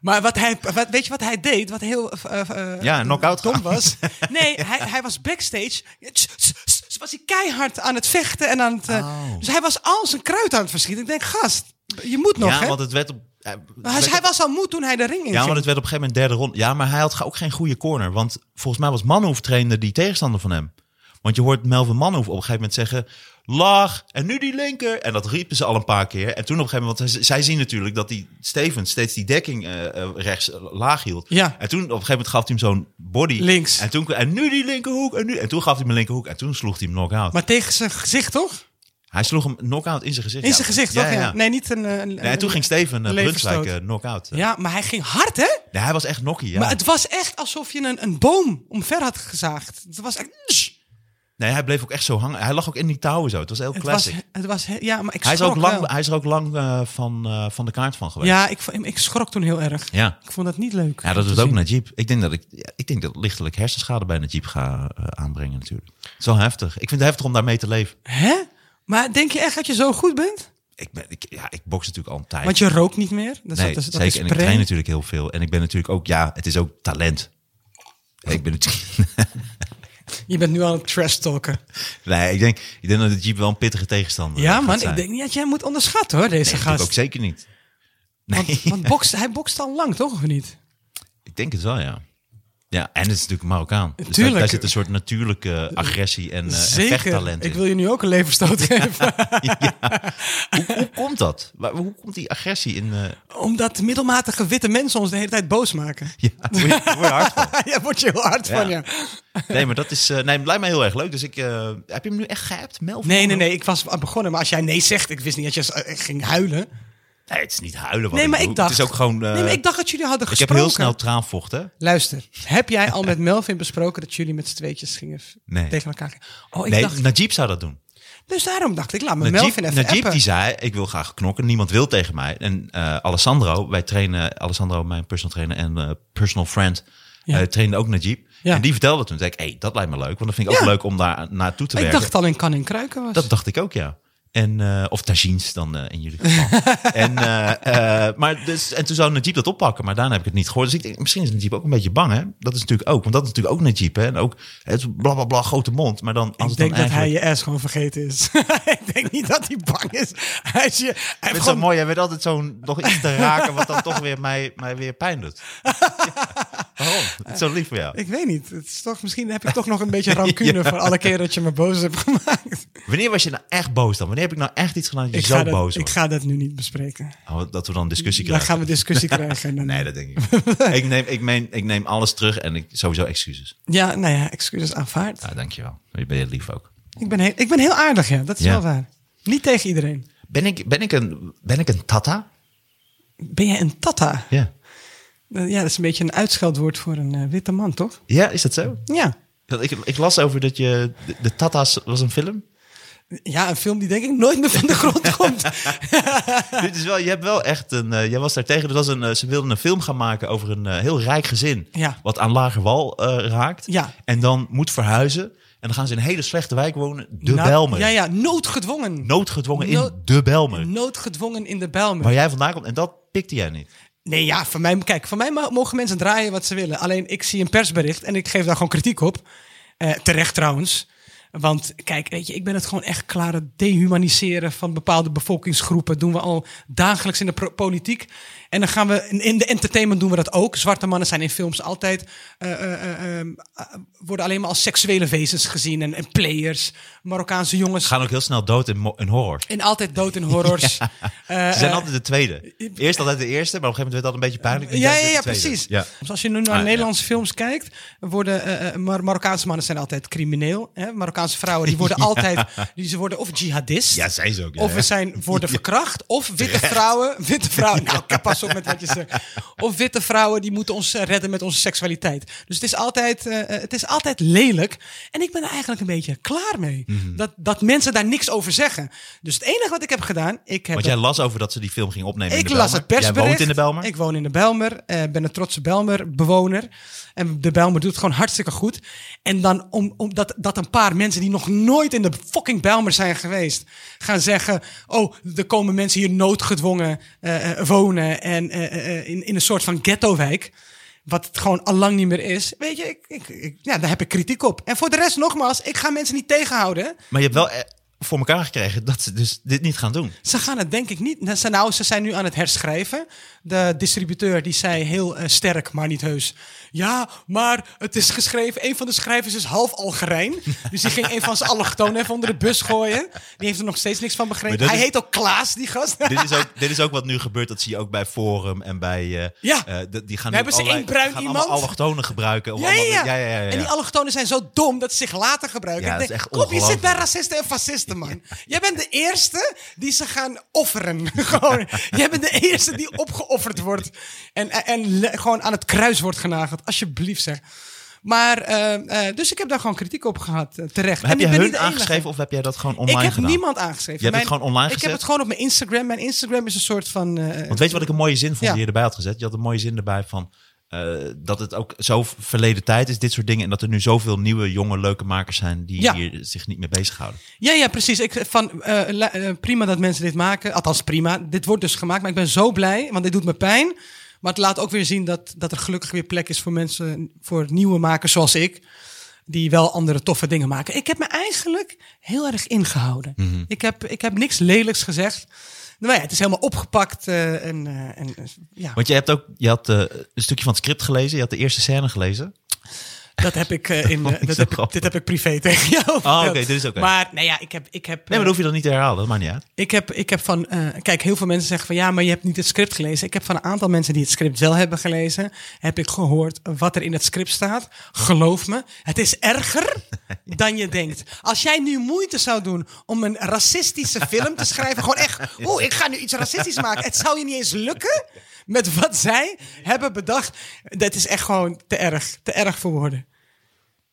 S2: Maar wat hij, wat, weet je wat hij deed? Wat heel eh, eh,
S3: Ja, knock-out
S2: dom
S3: gaan.
S2: was. Nee, hij, hij was backstage. Tss, tss, tss, was hij keihard aan het vechten en aan het. eh,
S3: Oh.
S2: Dus hij was al zijn kruid aan het verschieten. Ik denk, gast, je moet nog.
S3: ja,
S2: hè?
S3: want het werd op... eh,
S2: hij,
S3: werd
S2: hij
S3: op-
S2: was al moe toen hij de ring in
S3: ja,
S2: ging.
S3: want het werd op een gegeven moment derde ronde. Ja, maar hij had ook geen goede corner. Want volgens mij was Manhoef trainde die tegenstander van hem. Want je hoort Melvin Manhoef op een gegeven moment zeggen... Laag, en nu die linker. En dat riepen ze al een paar keer. En toen op een gegeven moment... Want zij- zij zien natuurlijk dat die Stevens steeds die dekking eh, eh, rechts eh, laag hield.
S2: Ja.
S3: En toen op een gegeven moment gaf hij hem zo'n body.
S2: Links.
S3: En, toen, en nu die linkerhoek. En, nu, en toen gaf hij hem een linkerhoek. En toen sloeg hij hem knock-out.
S2: Maar tegen zijn gezicht, toch?
S3: Hij sloeg hem knock-out in zijn gezicht.
S2: In
S3: ja.
S2: zijn gezicht, toch? Ja, Nee, niet een. eh, een-
S3: Nee, en toen ging Steven eh,
S2: Leverstoot.
S3: Brunswijk eh, knock-out.
S2: Ja, maar hij ging hard, hè?
S3: Nee, hij was echt nokkie, ja.
S2: Maar het was echt alsof je een, een boom omver had gezaagd. Het was echt.
S3: Nee, hij bleef ook echt zo hangen. Hij lag ook in die touwen zo. Het was heel
S2: Het was,
S3: classic.
S2: het was, he- ja, maar ik
S3: hij, is
S2: schrok
S3: ook lang,
S2: wel.
S3: hij is er ook lang eh, van, eh, van de kaart van geweest.
S2: Ja, ik, vo- ik schrok toen heel erg.
S3: Ja,
S2: Ik vond dat niet leuk.
S3: Ja, dat
S2: om
S3: doet
S2: te
S3: ook
S2: zien.
S3: Najib. Ik denk dat ik, ja, ik denk dat ik lichtelijk hersenschade bij Najib ga eh, aanbrengen natuurlijk. Het is wel heftig. Ik vind het heftig om daarmee te leven.
S2: Hè? Maar denk je echt dat je zo goed bent?
S3: Ik, ben, ik, ja, ik boks natuurlijk al een tijd.
S2: Want je rookt niet meer. Dat is-
S3: nee,
S2: dat is, dat
S3: zeker.
S2: is
S3: en ik
S2: prem.
S3: train natuurlijk heel veel. En ik ben natuurlijk ook, ja, het is ook talent. Ik ben natuurlijk...
S2: Je bent nu al een trash talker.
S3: Nee, ik denk, ik denk dat Najib wel een pittige tegenstander eh,
S2: Ja,
S3: gaat
S2: man.
S3: zijn.
S2: Ik denk niet dat jij moet onderschatten, hoor, deze
S3: Nee, natuurlijk
S2: gast.
S3: ook zeker niet. Nee,
S2: Want, want bokst, hij bokst al lang, toch? Of niet?
S3: ik denk het wel, ja. Ja, en het is natuurlijk Marokkaan. Dus
S2: Tuurlijk.
S3: daar, daar zit een soort natuurlijke agressie en, eh, en
S2: Zeker.
S3: vechttalent in.
S2: Ik wil je nu ook een leverstoot geven.
S3: Hoe, hoe komt dat? Waar- hoe komt die agressie in? eh,
S2: Omdat middelmatige witte mensen ons de hele tijd boos maken.
S3: ja, word je- word je hard van?
S2: ja, word je heel hard
S3: Ja.
S2: van, ja.
S3: Nee, maar dat is. eh, nee, het lijkt mij heel erg leuk. Dus ik. eh, heb je hem nu echt geappt, Mel?
S2: Nee, nee, nee. Ik was aan begonnen. Maar als jij nee zegt, ik wist niet dat je eh, ging huilen.
S3: Nee, het is niet huilen. Wat
S2: Nee,
S3: ik
S2: maar
S3: doe.
S2: ik dacht...
S3: Het is ook gewoon. eh,
S2: nee, maar ik dacht dat jullie hadden
S3: ik heb
S2: gesproken. Oh,
S3: heel snel traanvocht, hè?
S2: Luister, heb jij al met Melvin besproken dat jullie met z'n tweetjes gingen f-
S3: Nee.
S2: tegen elkaar? gingen? Oh, ik
S3: Nee,
S2: dacht,
S3: Najib zou dat doen.
S2: dus daarom dacht ik, laat me
S3: Najib,
S2: Melvin even
S3: Najib
S2: appen.
S3: die zei: Ik wil graag knokken. Niemand wil tegen mij. En eh, Alessandro, wij trainen. Alessandro, mijn personal trainer en eh, personal friend,
S2: Ja.
S3: eh, trainde ook Najib.
S2: Ja.
S3: En die vertelde toen. Toen Zei ik: Hé, dat lijkt me leuk. Want dat vind ik ook
S2: Ja.
S3: leuk om daar naartoe te
S2: ik
S3: werken.
S2: dacht al in kan en kruiken was.
S3: Dat dacht ik ook, ja. En, eh, of tagines dan eh, in jullie geval. en, eh, eh, maar dus, en toen zou Najib dat oppakken, maar daarna heb ik het niet gehoord. Dus ik denk, misschien is Najib ook een beetje bang, hè? Dat is natuurlijk ook, want dat is natuurlijk ook Najib, hè? En ook het bla bla bla, grote mond. Maar dan, als
S2: ik
S3: het
S2: denk
S3: dan
S2: dat hij
S3: eigenlijk...
S2: je ass gewoon vergeten is. ik denk niet dat hij bang is. Hij is je, hij heeft
S3: Ik vind het
S2: gewoon-
S3: zo mooi, hij weet altijd zo'n nog iets te raken wat dan toch weer mij, mij weer pijn doet. Ja, waarom? Het is zo lief voor jou.
S2: Ik weet niet. Het is toch, misschien heb ik toch nog een beetje rancune voor alle keer dat je me boos hebt gemaakt.
S3: Wanneer was je nou echt boos dan? Wanneer heb ik nou echt iets gedaan dat je
S2: Ik
S3: zo
S2: ga, dat,
S3: boos
S2: ik
S3: wordt?
S2: ga dat nu niet bespreken.
S3: Oh, dat we dan discussie
S2: Dan
S3: krijgen.
S2: gaan we discussie krijgen. en dan-
S3: Nee, dat denk ik niet. ik, neem, ik, meen, ik neem alles terug en ik, sowieso excuses.
S2: Ja, nou ja, excuses aanvaard.
S3: Ah, dankjewel. Je bent heel lief ook.
S2: Ik ben heel, ik ben heel aardig, ja. Dat is
S3: Ja.
S2: wel waar. Niet tegen iedereen.
S3: Ben ik, ben ik, een, ben ik een tata?
S2: Ben jij een tata?
S3: Ja.
S2: Eh, Ja, dat is een beetje een uitscheldwoord voor een eh, witte man, toch?
S3: Ja, is dat zo?
S2: Ja.
S3: Dat Ik, ik las over dat je... De, de tata's was een film.
S2: Ja, een film die denk ik nooit meer van de grond komt.
S3: Dit is wel, je hebt wel echt een... eh, jij was daar tegen. Dat was een, eh, ze wilden een film gaan maken over een eh, heel rijk gezin.
S2: Ja.
S3: Wat aan lager wal eh, raakt.
S2: Ja.
S3: En dan moet verhuizen. En dan gaan ze in een hele slechte wijk wonen. De
S2: Nou,
S3: Belmer.
S2: Ja, ja, noodgedwongen.
S3: Noodgedwongen
S2: No-
S3: in De Belmer.
S2: Noodgedwongen in de Bijlmer.
S3: Waar jij vandaan komt. En dat pikte jij niet.
S2: Nee, ja, van mij, kijk, van mij ma- mogen mensen draaien wat ze willen. Alleen ik zie een persbericht en ik geef daar gewoon kritiek op. Eh, terecht trouwens. Want kijk, weet je, ik ben het gewoon echt klaar. Het dehumaniseren van bepaalde bevolkingsgroepen doen we al dagelijks in de pro- politiek. En dan gaan we in, in de entertainment doen we dat ook. Zwarte mannen zijn in films altijd. eh, eh, eh, eh, worden alleen maar als seksuele wezens gezien en, en players. Marokkaanse jongens.
S3: Gaan ook heel snel dood in, mo- in horror.
S2: En altijd dood in horrors. Eh,
S3: Ze zijn
S2: eh,
S3: altijd de tweede. Eerst altijd de eerste, maar op een gegeven moment werd dat een beetje pijnlijk. en
S2: Ja,
S3: jij
S2: ja,
S3: bent
S2: ja
S3: de tweede.
S2: precies.
S3: Ja.
S2: Dus als je nu naar
S3: Ah, ja.
S2: Nederlandse films kijkt, worden eh, eh, Mar- Marokkaanse mannen zijn altijd crimineel. Hè? Marokkaanse vrouwen die worden altijd, die, ze worden of jihadist.
S3: Ja, zijn ze ook. Ja,
S2: Of we
S3: ja.
S2: zijn worden verkracht. Of witte vrouwen. Witte vrouwen. Nou, ik pas op met wat je zegt. Of witte vrouwen die moeten ons eh, redden met onze seksualiteit. Dus het is altijd, eh, eh, het is altijd lelijk. En ik ben er eigenlijk een beetje klaar mee.
S3: Mhm.
S2: Dat, dat mensen daar niks over zeggen. Dus het enige wat ik heb gedaan. Ik heb
S3: Want jij las over dat ze die film ging opnemen in
S2: ik
S3: de
S2: las
S3: Bijlmer.
S2: het persbericht.
S3: Jij woont in de Belmer.
S2: Ik woon in de Belmer. eh, ben een trotse Belmer-bewoner. En de Belmer doet het gewoon hartstikke goed. En dan om, om dat, dat een paar mensen die nog nooit in de fucking Belmer zijn geweest... gaan zeggen... oh, er komen mensen hier noodgedwongen eh, eh, wonen... en eh, eh, eh, in, in een soort van ghetto-wijk... Wat het gewoon al lang niet meer is. Weet je, ik, ik, ik- ja, daar heb ik kritiek op. En voor de rest, nogmaals, ik ga mensen niet tegenhouden.
S3: Maar je hebt wel eh, voor elkaar gekregen dat ze dus dit niet gaan doen.
S2: Ze gaan het denk ik niet. Nou, ze- Nou, ze zijn nu aan het herschrijven. De distributeur die zei heel eh, sterk, maar niet heus. Ja, maar het is geschreven. Een van de schrijvers is half Algerijn. Dus die ging een van zijn allochtonen even onder de bus gooien. Die heeft er nog steeds niks van begrepen.
S3: Maar dat
S2: Hij
S3: is-
S2: heet ook Klaas, die gast.
S3: dit, is ook, dit is ook wat nu gebeurt. Dat zie je ook bij Forum en bij... eh,
S2: Ja.
S3: eh, de- die gaan
S2: We
S3: nu
S2: hebben ze
S3: allerlei-
S2: één bruin
S3: gaan
S2: iemand.
S3: allemaal allochtonen gebruiken. Om
S2: Ja ja
S3: allemaal-
S2: ja.
S3: ja, ja, ja, ja.
S2: En die allochtonen zijn zo dom dat ze zich later gebruiken.
S3: Ja,
S2: Ik
S3: dat
S2: denk,
S3: is echt
S2: Kom, je zit bij
S3: ongelooflijk.
S2: racisten en fascisten, man. Jij bent de eerste die ze gaan offeren. gewoon. Jij bent de eerste die opgeofferd wordt. En, en, en le- gewoon aan het kruis wordt genageld. Alsjeblieft, zeg. Maar, eh, eh, dus ik heb daar gewoon kritiek op gehad, eh, terecht.
S3: Maar heb
S2: En
S3: je
S2: ik ben
S3: hun
S2: niet de enige.
S3: aangeschreven of heb jij dat gewoon online
S2: Ik heb
S3: gedaan?
S2: niemand aangeschreven.
S3: Je hebt het
S2: Mijn-
S3: gewoon online
S2: Ik heb
S3: gezet?
S2: het gewoon op mijn Instagram. Mijn Instagram is een soort van... eh,
S3: Want weet je wat ik een mooie zin vond
S2: Ja.
S3: die je erbij had gezet? Je had een mooie zin erbij van eh, dat het ook zo verleden tijd is, dit soort dingen. En dat er nu zoveel nieuwe, jonge, leuke makers zijn die
S2: Ja.
S3: hier zich niet mee bezighouden.
S2: Ja, ja, precies. Ik, van, eh, la- eh, prima dat mensen dit maken. Althans, prima. Dit wordt dus gemaakt. Maar ik ben zo blij, want dit doet me pijn. Maar het laat ook weer zien dat, dat er gelukkig weer plek is voor mensen, voor nieuwe makers zoals ik. Die wel andere toffe dingen maken. Ik heb me eigenlijk heel erg ingehouden.
S3: Mhm.
S2: ik, heb, ik heb niks lelijks gezegd. Nou ja, het is helemaal opgepakt. eh, en, eh, en, eh, ja.
S3: Want je hebt ook, je had eh, een stukje van het script gelezen, je had de eerste scène gelezen.
S2: Dat heb ik, eh, in, eh,
S3: vond ik
S2: dat
S3: zo
S2: heb ik,
S3: grappig.
S2: dit heb ik privé tegen jou.
S3: Oh,
S2: verteld.
S3: oké, dit is oké.
S2: Maar nou ja, ik heb, ik heb,
S3: Nee, maar dat
S2: eh,
S3: hoef je dan niet te herhalen. Dat maakt niet uit.
S2: ik heb, ik heb van, eh, kijk, heel veel mensen zeggen van ja, maar je hebt niet het script gelezen. Ik heb van een aantal mensen die het script wel hebben gelezen, heb ik gehoord wat er in het script staat. Geloof me, het is erger dan je denkt. Als jij nu moeite zou doen om een racistische film te schrijven, gewoon echt, oeh, ik ga nu iets racistisch maken. Het zou je niet eens lukken met wat zij hebben bedacht. Dat is echt gewoon te erg, te erg voor woorden.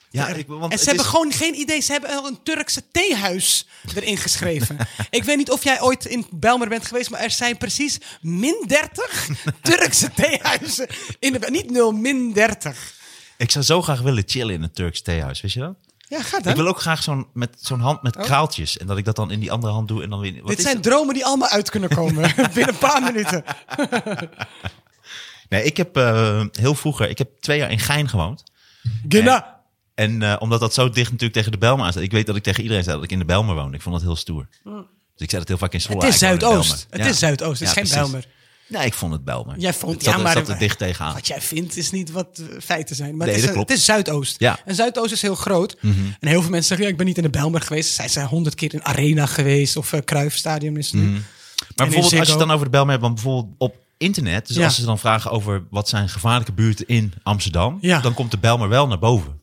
S3: Ja, ik, want
S2: En ze
S3: het
S2: hebben
S3: is-
S2: gewoon geen idee. Ze hebben al een Turkse theehuis erin geschreven. ik weet niet of jij ooit in Belmer bent geweest, maar er zijn precies min 30 Turkse theehuizen. In de, niet 0, min 30.
S3: ik zou zo graag willen chillen in een Turks theehuis. Weet je dat?
S2: Ja, gaat
S3: Ik
S2: dan.
S3: wil ook graag zo'n met zo'n hand met kraaltjes. En dat ik dat dan in die andere hand doe. En dan weer, wat
S2: Oh. Dit
S3: is
S2: zijn
S3: dat?
S2: dromen die allemaal uit kunnen komen binnen een paar minuten.
S3: Nee, ik heb eh, heel vroeger, ik heb twee jaar in Gein gewoond.
S2: Gina.
S3: En eh, omdat dat zo dicht natuurlijk tegen de Belmer aan staat. Ik weet dat ik tegen iedereen zei dat ik in de Belmer woon. Ik vond dat heel stoer. Dus ik zei dat heel vaak in Zwolle.
S2: Hm. Het is
S3: "Ah, ik woon in de
S2: Zuidoost.
S3: Bijlmer."
S2: Het is Zuidoost. Het is geen
S3: precies.
S2: Bijlmer.
S3: Nee, ik vond het Belmer.
S2: Jij vond,
S3: het zat,
S2: ja, maar
S3: het zat er dicht tegenaan.
S2: Wat jij vindt is niet wat eh, feiten zijn. Maar
S3: Nee,
S2: het, is,
S3: dat klopt.
S2: het is Zuidoost.
S3: Ja. Mhm.
S2: En Zuidoost is heel groot. En heel veel mensen zeggen, ja, ik ben niet in de Belmer geweest. Zij zijn honderd keer in Arena geweest of eh, Cruijffstadium is het nu.
S3: Mhm. Maar
S2: in
S3: bijvoorbeeld als je
S2: Ziggo.
S3: het dan over de Belmer hebt, want bijvoorbeeld op internet, dus
S2: Ja.
S3: als ze dan vragen over wat zijn gevaarlijke buurten in Amsterdam,
S2: Ja.
S3: dan komt de Belmer wel naar boven.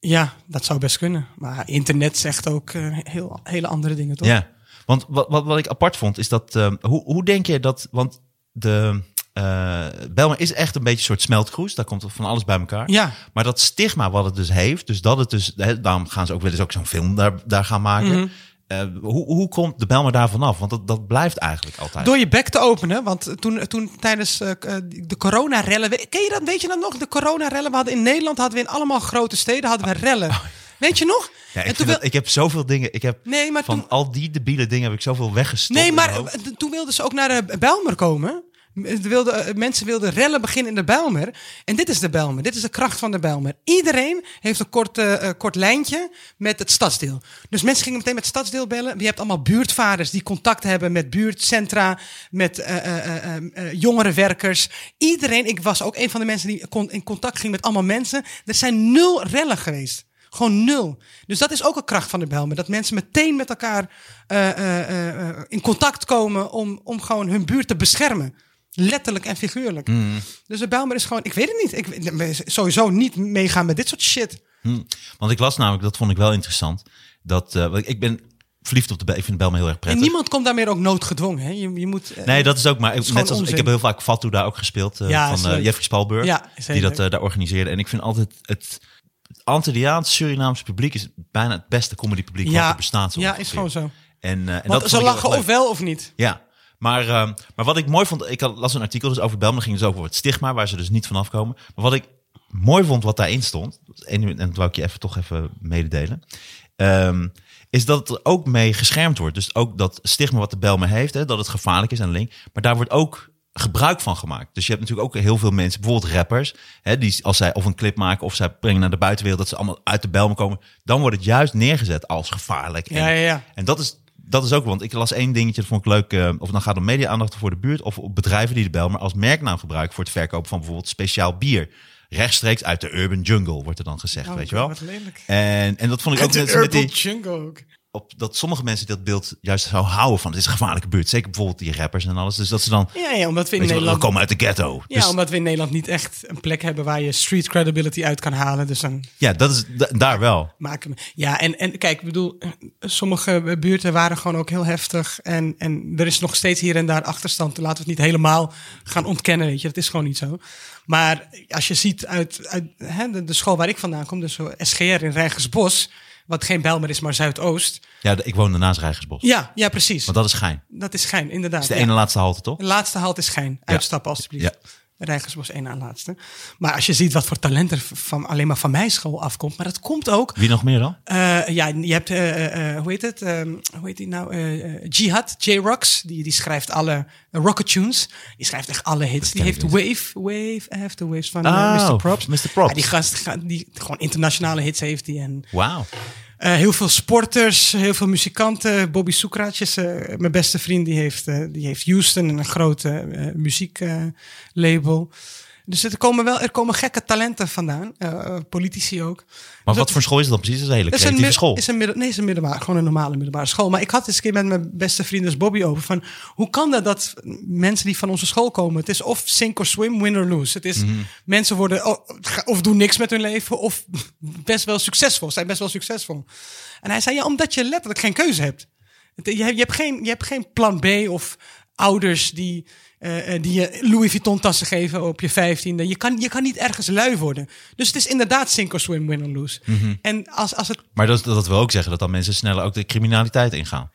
S2: Ja, dat zou best kunnen. Maar internet zegt ook eh, heel, hele andere dingen, toch?
S3: Ja, want wat, wat, wat ik apart vond is dat, ehm, hoe, hoe denk je dat, want de eh Belmer is echt een beetje een soort smeltkroes, daar komt van alles bij elkaar.
S2: Ja.
S3: Maar dat stigma wat het dus heeft, dus dat het dus, hè, daarom gaan ze ook wel eens ook zo'n film daar, daar gaan maken.
S2: Mhm.
S3: Eh, hoe, hoe komt de Belmer daar vanaf? Want dat, dat blijft eigenlijk altijd.
S2: Door je bek te openen, want toen, toen tijdens eh, k- eh, de coronarellen... we- Ken je dat, weet je dat nog? De coronarellen, we hadden in Nederland hadden we in allemaal grote steden hadden we rellen. Weet je nog?
S3: Oh. Ja, ik,
S2: En
S3: vind
S2: toen wil-
S3: dat- ik heb zoveel dingen. Ik heb
S2: Nee, maar
S3: van
S2: toen-
S3: al die debiele dingen heb ik zoveel weggestopt.
S2: Nee,
S3: in
S2: maar
S3: mijn hoofd.
S2: eh, toen wilden ze ook naar de Bijlmer komen. Eh, Wilde, eh, mensen wilden rellen beginnen in de Bijlmer. En dit is de Bijlmer. Dit is de kracht van de Bijlmer. Iedereen heeft een kort, eh, eh, kort lijntje met het stadsdeel. Dus mensen gingen meteen met het stadsdeel bellen. Je hebt allemaal buurtvaders die contact hebben met buurtcentra, met eh, eh, eh, eh, eh, jongerenwerkers. Iedereen, ik was ook een van de mensen die kon, in contact ging met allemaal mensen. Er zijn nul rellen geweest. Gewoon nul. Dus dat is ook een kracht van de Bijlmer. Dat mensen meteen met elkaar eh, eh, eh, eh, in contact komen om, om gewoon hun buurt te beschermen. Letterlijk en figuurlijk.
S3: Hmm.
S2: Dus de Bijlmer is gewoon, ik weet het niet. Ik ben sowieso niet meegaan met dit soort shit.
S3: Hm. Want ik las namelijk, dat vond ik wel interessant. Dat, eh, want ik ben verliefd op de Bel. Ik vind de Belmer heel erg
S2: En
S3: prettig.
S2: niemand komt daarmee ook noodgedwongen. Hè? Je, je moet, eh,
S3: Nee, dat is ook maar.
S2: is gewoon
S3: net als, ik
S2: onzin.
S3: heb heel vaak Fatou daar ook gespeeld. eh,
S2: Ja, is
S3: van eh,
S2: leuk.
S3: Jeffrey Spalburg.
S2: Ja, is heel
S3: die dat
S2: leuk.
S3: eh, daar organiseerde. En ik vind altijd het, het Antilliaans Surinaams publiek is bijna het beste comedy publiek wat er bestaat. zo
S2: ja,
S3: ongeveer.
S2: is gewoon zo.
S3: En, eh, en
S2: Want
S3: dat
S2: ze
S3: vond ik heel erg
S2: lachen
S3: leuk.
S2: of wel of niet.
S3: Ja, maar, ehm, maar wat ik mooi vond, ik had- las een artikel dus over Belmen, ging dus over het stigma, waar ze dus niet vanaf komen. Maar wat ik mooi vond, wat daarin stond, en, en dat wou ik je even toch even mededelen, ehm, is dat het er ook mee geschermd wordt. Dus ook dat stigma wat de Belmen heeft, hè, dat het gevaarlijk is en link, maar daar wordt ook gebruik van gemaakt. Dus je hebt natuurlijk ook heel veel mensen, bijvoorbeeld rappers, hè, die als zij of een clip maken of zij brengen naar de buitenwereld dat ze allemaal uit de Belmen komen, dan wordt het juist neergezet als gevaarlijk. En
S2: Ja, ja, ja.
S3: en dat is, dat is ook, want ik las één dingetje, dat vond ik leuk. eh, of dan gaat het om media-aandacht voor de buurt of op bedrijven die de Belmer als merknaam gebruiken voor het verkopen van bijvoorbeeld speciaal bier. Rechtstreeks uit de urban jungle, wordt er dan gezegd,
S2: Oh,
S3: weet je
S2: God,
S3: wel.
S2: wat lelijk.
S3: En, en dat vond ik ook
S2: de
S3: net met
S2: urban
S3: die,
S2: jungle ook.
S3: op, dat sommige mensen dat beeld juist zou houden van. Het is een gevaarlijke buurt, zeker bijvoorbeeld die rappers en alles. Dus dat ze dan,
S2: Ja, ja, omdat we in
S3: weet je wel, we
S2: Nederland...
S3: komen uit de ghetto.
S2: Ja,
S3: dus,
S2: omdat we in Nederland niet echt een plek hebben waar je street credibility uit kan halen. Dus dan
S3: ja dat is da- daar wel.
S2: maken. Ja, en, en kijk, ik bedoel, eh, sommige buurten waren gewoon ook heel heftig. En, en er is nog steeds hier en daar achterstand. Laten we het niet helemaal gaan ontkennen, weet je. Dat is gewoon niet zo. Maar als je ziet uit, uit hè, de, de school waar ik vandaan kom, dus zo SGR in Rijgersbos... wat geen Bijlmer is, maar Zuidoost.
S3: Ja, de- ik woon daarnaast Rijgersbos.
S2: Ja, ja precies.
S3: Want dat is Gein. Dat
S2: Dat is schijn, inderdaad.
S3: is de
S2: ja.
S3: ene laatste halte, toch?
S2: De laatste halt is Gein. Uitstappen alstublieft.
S3: Ja.
S2: Rijgersbos één aan laatste. Maar als je ziet wat voor talent er van, alleen maar van mijn school afkomt. Maar dat komt ook
S3: Wie nog meer dan?
S2: eh, ja, je hebt, eh, eh, eh, hoe heet het? Ehm, hoe heet die nou? Eh, eh, Jihad, J-Rox, die, die schrijft alle eh, rocket tunes. Die schrijft echt alle hits. Die
S3: ken
S2: heeft
S3: ik
S2: Wave, Wave After Waves van eh,
S3: Oh,
S2: Mr. Props.
S3: Mr. Props.
S2: Ja, die gast ga- die gewoon internationale hits heeft die. En
S3: Wauw.
S2: eh, heel veel sporters, heel veel muzikanten. Bobby Soekratjes, eh, mijn beste vriend, die heeft, eh, die heeft Houston, een groot eh, eh, muzieklabel. Dus er komen wel er komen gekke talenten vandaan. eh, eh, politici ook.
S3: Maar
S2: Dus
S3: wat
S2: dat-
S3: voor school is dat dan precies? Dat is een hele
S2: is een,
S3: creatieve
S2: mid-
S3: school.
S2: Is een midden, nee, is een middelbare, gewoon een normale middelbare school. Maar ik had eens een keer met mijn beste vriend, dus Bobby, over van hoe kan dat dat mensen die van onze school komen, het is of sink or swim, win or lose. Het is mensen worden o- ga- of doen niks met hun leven of best wel succesvol, zijn best wel succesvol. En hij zei ja, omdat je letterlijk geen keuze hebt. Het- Je hebt, je hebt, geen, je hebt geen plan B of ouders die, eh, eh, die je Louis Vuitton tassen geven op je vijftiende. Je kan, je kan niet ergens lui worden. Dus het is inderdaad sink or swim, win or lose. En als, als het
S3: Maar dat, dat wil ook zeggen dat dan mensen sneller ook de criminaliteit ingaan.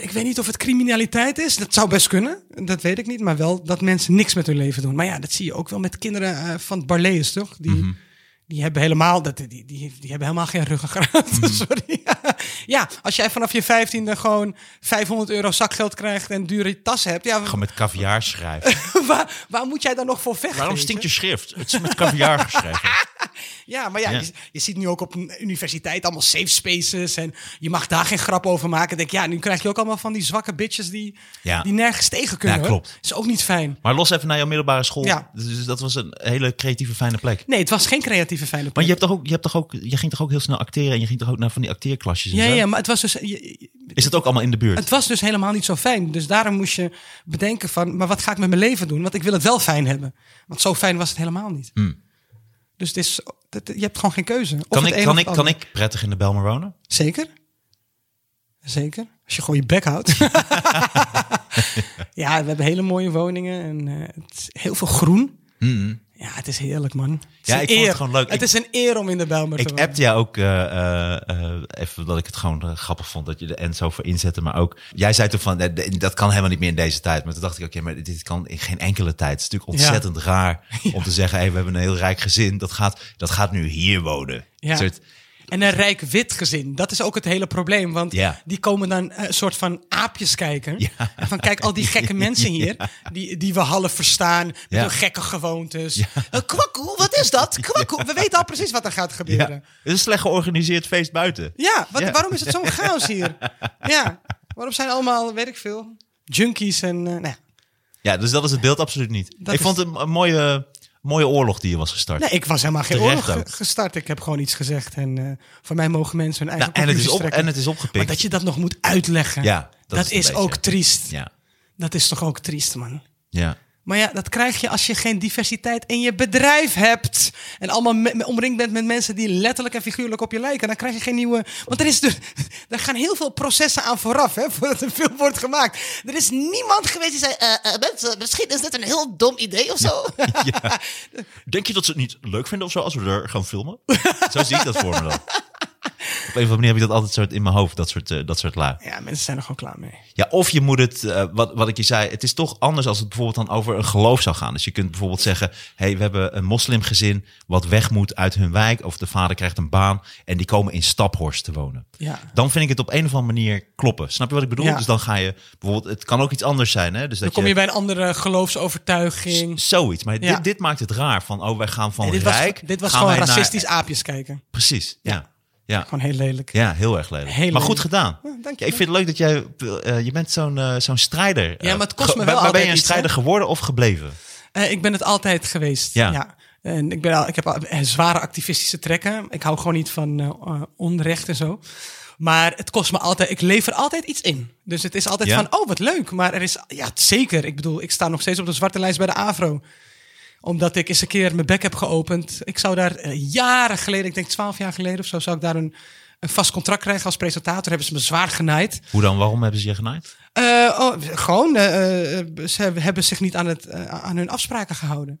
S2: Ik weet niet of het criminaliteit is. Dat zou best kunnen. Dat weet ik niet. Maar wel dat mensen niks met hun leven doen. Maar ja, dat zie je ook wel met kinderen eh, van het Barlees, toch? Die,
S3: Mhm.
S2: die hebben helemaal, dat, die, die, die hebben helemaal geen ruggengraat.
S3: Mhm.
S2: Sorry. ja, als jij vanaf je vijftiende gewoon 500 euro zakgeld krijgt en dure tas hebt. Ja,
S3: Gewoon met caviar schrijven.
S2: waar, waar moet jij dan nog voor vechten?
S3: Waarom
S2: weet
S3: stinkt
S2: je?
S3: je schrift? Het is met caviar geschreven.
S2: Ja, maar ja,
S3: Ja.
S2: Je, je ziet nu ook op een universiteit allemaal safe spaces. En je mag daar geen grap over maken. Dan Denk, ik, ja, nu krijg je ook allemaal van die zwakke bitches die,
S3: Ja.
S2: die nergens tegen kunnen.
S3: Ja,
S2: hoor.
S3: klopt.
S2: Is ook niet fijn.
S3: Maar los even naar jouw middelbare school.
S2: Ja.
S3: Dus dat was een hele creatieve, fijne plek.
S2: Nee, het was geen creatieve fijne
S3: Maar
S2: plek.
S3: je, hebt toch ook, je, hebt toch ook, je ging toch ook heel snel acteren en je ging toch ook naar van die acteerklasjes en
S2: ja,
S3: zo?
S2: ja, maar het was, dus, je- je-
S3: Is dat ook allemaal in de buurt?
S2: het was dus helemaal niet zo fijn. Dus daarom moest je bedenken van, maar wat ga ik met mijn leven doen? Want ik wil het wel fijn hebben. Want zo fijn was het helemaal niet. Dus het is, het- je hebt gewoon geen keuze. Of
S3: Hmm. Kan
S2: het
S3: ik,
S2: een
S3: kan,
S2: of
S3: ik,
S2: het
S3: kan
S2: ander.
S3: ik prettig in de Belmer wonen?
S2: Zeker. Zeker. Als je gewoon je bek houdt. ja, we hebben hele mooie woningen en eh, het is heel veel groen. Ja, het is heerlijk, man. Het is
S3: Mm-hmm. Ja,
S2: een
S3: ik vond het
S2: eer.
S3: gewoon leuk.
S2: Het
S3: Ik-
S2: is een eer om in de Bijlmer te
S3: Ik
S2: wonen.
S3: appte jou ook eh, eh, eh, even dat ik het gewoon eh, grappig vond dat je de Enzo voor inzette. Maar ook, jij zei toen van, eh, d- dat kan helemaal niet meer in deze tijd. Maar toen dacht ik, oké, maar dit kan in geen enkele tijd. Het is natuurlijk
S2: Ja.
S3: ontzettend raar om te zeggen, hey, we hebben een heel rijk gezin. Dat gaat, dat gaat nu hier wonen.
S2: Ja.
S3: Een soort-
S2: En een rijk wit gezin. Dat is ook het hele probleem. Want
S3: Ja.
S2: die komen dan eh, een soort van aapjes kijken.
S3: Ja.
S2: En Van kijk, al die gekke mensen hier. Die, die we half verstaan. Met
S3: Ja.
S2: hun gekke gewoontes. Eh, kwakkoe, wat is dat? Kwakkoe. We weten al precies wat er gaat
S3: ja.
S2: gebeuren.
S3: Het is een slecht georganiseerd feest buiten.
S2: Ja, wat,
S3: Ja.
S2: waarom is het zo'n chaos hier? Ja, waarom zijn allemaal, weet ik veel, junkies en... eh, nee.
S3: Ja, dus dat is het beeld absoluut niet.
S2: Dat
S3: ik
S2: is-
S3: vond het een, een mooie, mooie oorlog die je was gestart.
S2: nee, ik was helemaal geen
S3: Terecht
S2: oorlog
S3: ook.
S2: ge- gestart. Ik heb gewoon iets gezegd en eh, voor mij mogen mensen hun eigen
S3: Nou, en, het is
S2: conclusies
S3: op,
S2: trekken.
S3: en het is
S2: Maar
S3: opgepikt.
S2: dat je dat nog moet uitleggen,
S3: Ja,
S2: dat,
S3: dat
S2: is,
S3: is een beetje-
S2: ook triest.
S3: Ja,
S2: Dat is toch ook triest, man.
S3: ja.
S2: Maar ja, dat krijg je als je geen diversiteit in je bedrijf hebt. En allemaal me- omringd bent met mensen die letterlijk en figuurlijk op je lijken. Dan krijg je geen nieuwe. Want er, is de, er gaan heel veel processen aan vooraf, hè, voordat een film wordt gemaakt. Er is niemand geweest die zei: eh, eh, mensen, misschien is dit een heel dom idee of zo.
S3: Ja. Denk je dat ze het niet leuk vinden of zo als we er gaan filmen? zo zie ik dat voor me dan. Op een of andere manier heb ik dat altijd soort in mijn hoofd, dat soort, eh, dat soort lui.
S2: Ja, mensen zijn er gewoon klaar mee.
S3: Ja, of je moet het, eh, wat, wat ik je zei, het is toch anders als het bijvoorbeeld dan over een geloof zou gaan. Dus je kunt bijvoorbeeld zeggen, hey, we hebben een moslimgezin wat weg moet uit hun wijk. Of de vader krijgt een baan en die komen in Staphorst te wonen.
S2: Ja.
S3: Dan vind ik het op een of andere manier kloppen. Snap je wat ik bedoel?
S2: Ja.
S3: Dus dan ga je bijvoorbeeld, het kan ook iets anders zijn. Hè? Dus dat
S2: Dan kom je bij een andere geloofsovertuiging.
S3: Zoiets. Maar
S2: Ja.
S3: dit, dit maakt het raar van, oh, wij gaan van
S2: Nee, dit was,
S3: rijk.
S2: dit was
S3: gaan
S2: gewoon
S3: wij naar-
S2: racistisch aapjes kijken.
S3: Precies, ja. ja.
S2: Gewoon heel lelijk.
S3: Ja, heel erg lelijk.
S2: Heel
S3: maar goed
S2: lelijk.
S3: gedaan.
S2: Ja, dank je
S3: ik vind het leuk dat jij... eh, je bent zo'n eh, zo'n strijder. eh,
S2: maar het kost me
S3: ge-
S2: wel
S3: maar- Maar ben
S2: altijd
S3: je een
S2: iets, hè?
S3: strijder geworden of gebleven?
S2: Eh, ik ben het altijd geweest. Ja.
S3: Ja.
S2: En ik, ben al, ik heb al, eh, zware activistische trekken. Ik hou gewoon niet van eh, eh, onrecht en zo. Maar het kost me altijd, ik lever altijd iets in. Dus het is altijd
S3: Ja?
S2: van, oh wat leuk. Maar er is, ja zeker. Ik bedoel, ik sta nog steeds op de zwarte lijst bij de AVRO. Omdat ik eens een keer mijn bek heb geopend. Ik zou daar eh, jaren geleden, ik denk twaalf jaar geleden of zo, zou ik daar een, een vast contract krijgen als presentator. Hebben ze me zwaar genaaid.
S3: Hoe dan? Waarom hebben ze je genaaid?
S2: Eh, oh, gewoon, eh, eh, ze hebben zich niet aan, het, eh, aan hun afspraken gehouden.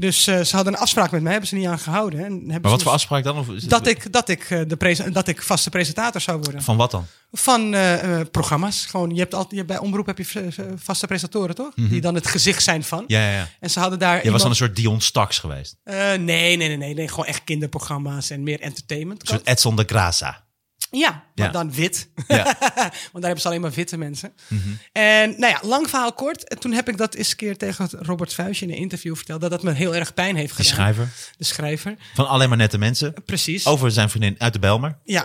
S2: Dus eh, ze hadden een afspraak met mij, hebben ze niet aan gehouden. En hebben ze
S3: Hmm. Maar wat voor
S2: dus-
S3: afspraak dan? Of is het-
S2: Dat ik, dat, ik, eh, de prese- dat ik vaste presentator zou worden.
S3: Van wat dan?
S2: Van eh, eh, programma's. Gewoon, je hebt altijd, je, hebt bij Omroep heb je v- eh, vaste presentatoren, toch? Die dan het gezicht zijn van.
S3: Mhm. Ja, ja, ja. Je
S2: En ze hadden daar.
S3: was dan
S2: iemand-
S3: een soort Dion Staks geweest.
S2: Eh, nee, nee, nee, nee, nee. Gewoon echt kinderprogramma's en meer entertainment.
S3: Een soort Edson de Graza.
S2: Ja, maar
S3: Ja.
S2: dan wit.
S3: Ja.
S2: Want daar hebben ze alleen maar witte mensen.
S3: Mhm.
S2: En nou ja, lang verhaal kort. En toen heb ik dat eens een keer tegen Robert Vuijsje in een interview verteld. Dat dat me heel erg pijn heeft
S3: De
S2: gedaan.
S3: schrijver.
S2: De schrijver,
S3: Van alleen maar nette mensen.
S2: precies.
S3: Over zijn vriendin uit de Belmer.
S2: Ja.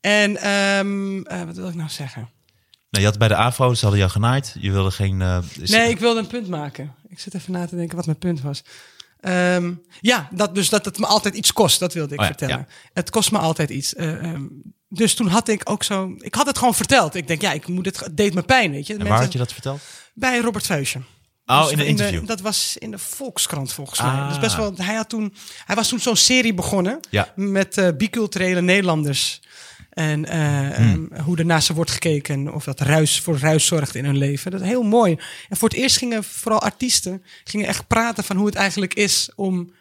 S2: En ehm, eh, wat wil ik nou zeggen?
S3: Nou, je had bij de AVO, ze hadden jou genaaid. Je wilde geen... eh, is-
S2: Nee, ik wilde een punt maken. Ik zit even na te denken wat mijn punt was. Ehm, ja, dat, dus dat het me altijd iets kost, dat wilde ik
S3: Oh ja,
S2: vertellen. Het kost me altijd iets. Eh, ehm, dus toen had ik ook zo... Ik had het gewoon verteld. Ik denk, ja, ik moet het, het deed me pijn, weet je.
S3: En waar
S2: Mensen-
S3: had je dat verteld?
S2: Bij Robert Vuijsje.
S3: Oh,
S2: Dus
S3: in een
S2: de-
S3: interview.
S2: dat was in de Volkskrant volgens
S3: Ah.
S2: mij. Dat is best wel, hij, had toen, hij was toen zo'n serie begonnen
S3: Ja.
S2: met eh, biculturele Nederlanders. En eh,
S3: Hmm.
S2: ehm, hoe ernaar ze wordt gekeken. Of dat ruis voor ruis zorgt in hun leven. Dat is heel mooi. En voor het eerst gingen vooral artiesten gingen echt praten van hoe het eigenlijk is om,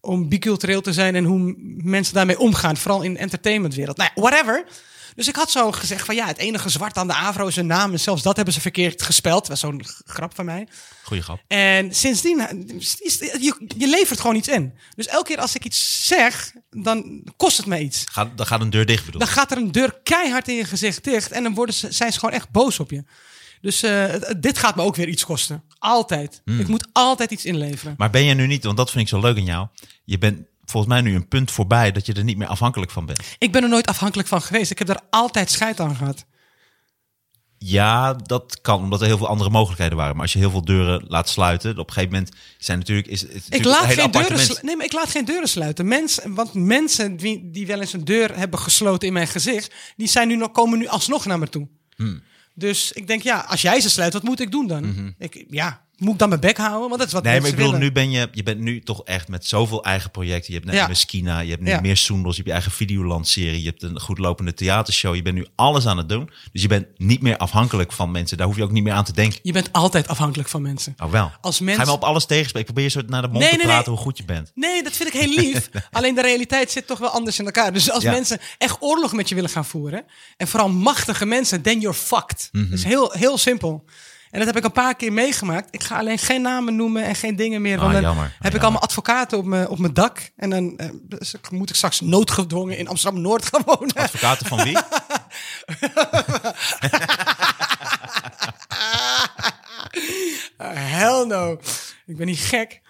S2: om bicultureel te zijn. En hoe m- mensen daarmee omgaan. Vooral in de entertainmentwereld. Nou ja, whatever. Dus ik had zo gezegd van ja, het enige zwart aan de Avro is hun naam. En zelfs dat hebben ze verkeerd gespeld. Dat was zo'n g- grap van mij.
S3: Goeie grap.
S2: En sindsdien, is- je, je levert gewoon iets in. Dus elke keer als ik iets zeg, dan kost het mij iets.
S3: Ga, dan gaat een deur dicht bedoel
S2: Dan
S3: ik.
S2: gaat er een deur keihard in je gezicht dicht en dan worden ze, zijn ze gewoon echt boos op je. Dus eh, het- het- dit gaat me ook weer iets kosten. Altijd. Ik moet altijd iets inleveren.
S3: Maar ben jij nu niet, want dat vind ik zo leuk aan jou. Je bent volgens mij nu een punt voorbij dat je er niet meer afhankelijk van bent.
S2: Ik ben er nooit afhankelijk van geweest. Ik heb daar altijd scheid aan gehad.
S3: Ja, dat kan, omdat er heel veel andere mogelijkheden waren. Maar als je heel veel deuren laat sluiten, op een gegeven moment zijn natuurlijk... Is, het
S2: Ik
S3: natuurlijk
S2: laat,
S3: een hele
S2: geen deuren
S3: appartement.
S2: slu- nee, maar ik laat geen deuren sluiten. Mensen, want mensen die, die wel eens een deur hebben gesloten in mijn gezicht, die zijn nu, nog- komen nu alsnog naar me toe.
S3: Hmm.
S2: Dus ik denk, ja, als jij ze sluit, wat moet ik doen dan? ik, ja, moet ik dan mijn bek houden? Want dat is wat
S3: Mhm. Nee, maar
S2: mensen
S3: ik bedoel,
S2: willen.
S3: nu ben je, je bent nu toch echt met zoveel eigen projecten. Je hebt net
S2: Ja.
S3: Meskina, je hebt nu
S2: Ja.
S3: meer Soendels, je hebt je eigen Videoland-serie, je hebt een goed lopende theatershow. Je bent nu alles aan het doen. Dus je bent niet meer afhankelijk van mensen. Daar hoef je ook niet meer aan te denken.
S2: Je bent altijd afhankelijk van mensen.
S3: Oh wel.
S2: Als
S3: Ga
S2: mensen-
S3: je me op alles tegenspreken? Probeer je zo naar de mond
S2: Nee,
S3: te
S2: nee,
S3: praten
S2: nee.
S3: hoe goed je bent.
S2: Nee, dat vind ik heel lief. Alleen de realiteit zit toch wel anders in elkaar. Dus als
S3: Ja.
S2: mensen echt oorlog met je willen gaan voeren, en vooral machtige mensen, then you're fucked.
S3: Mhm.
S2: Dat is heel, heel simpel. En dat heb ik een paar keer meegemaakt. Ik ga alleen geen namen noemen en geen dingen meer. Want
S3: Ah,
S2: dan
S3: jammer. Ah,
S2: heb ik allemaal advocaten op mijn, op mijn dak. En dan eh, dus moet ik straks noodgedwongen in Amsterdam-Noord gaan wonen.
S3: Advocaten van wie?
S2: Eh, hell no. Ik ben niet gek.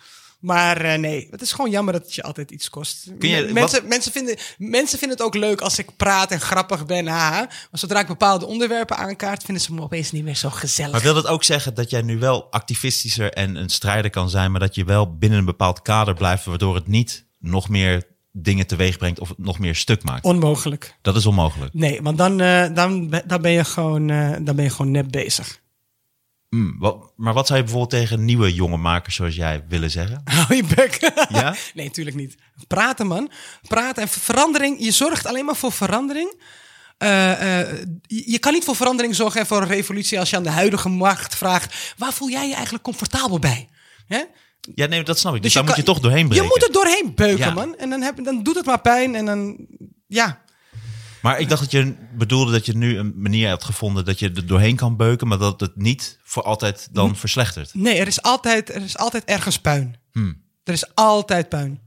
S2: Maar eh, nee, het is gewoon jammer dat het je altijd iets kost.
S3: Kun je-
S2: M- mensen, mensen, vinden, mensen vinden het ook leuk als ik praat en grappig ben. haha. Maar zodra ik bepaalde onderwerpen aankaart, vinden ze me opeens niet meer zo gezellig.
S3: Maar wil dat ook zeggen dat jij nu wel activistischer en een strijder kan zijn, maar dat je wel binnen een bepaald kader blijft, waardoor het niet nog meer dingen teweeg brengt of het nog meer stuk maakt?
S2: Onmogelijk.
S3: Dat is onmogelijk.
S2: Nee, want dan, eh, dan, be- dan, ben je gewoon, eh, dan ben je gewoon net bezig.
S3: Hmm, wat- maar wat zou je bijvoorbeeld tegen nieuwe jonge makers zoals jij willen zeggen?
S2: Hou je bek.
S3: Ja?
S2: Nee, natuurlijk niet. Praten, man. Praten en ver- verandering. Je zorgt alleen maar voor verandering. Eh, eh, je je kan niet voor verandering zorgen en voor een revolutie als je aan de huidige macht vraagt: waar voel jij je eigenlijk comfortabel bij? Hè?
S3: Ja, nee, dat snap ik. Dus,
S2: je
S3: daar moet
S2: kan-
S3: je toch doorheen breken.
S2: Je moet er doorheen beuken,
S3: Ja.
S2: man. En dan, heb, dan doet het maar pijn. En dan, ja.
S3: Maar ik dacht dat je bedoelde dat je nu een manier hebt gevonden dat je er doorheen kan beuken, maar dat het niet voor altijd dan verslechtert. Oké.
S2: Nee, er is altijd, er is altijd ergens puin.
S3: Hmm.
S2: Er is altijd puin.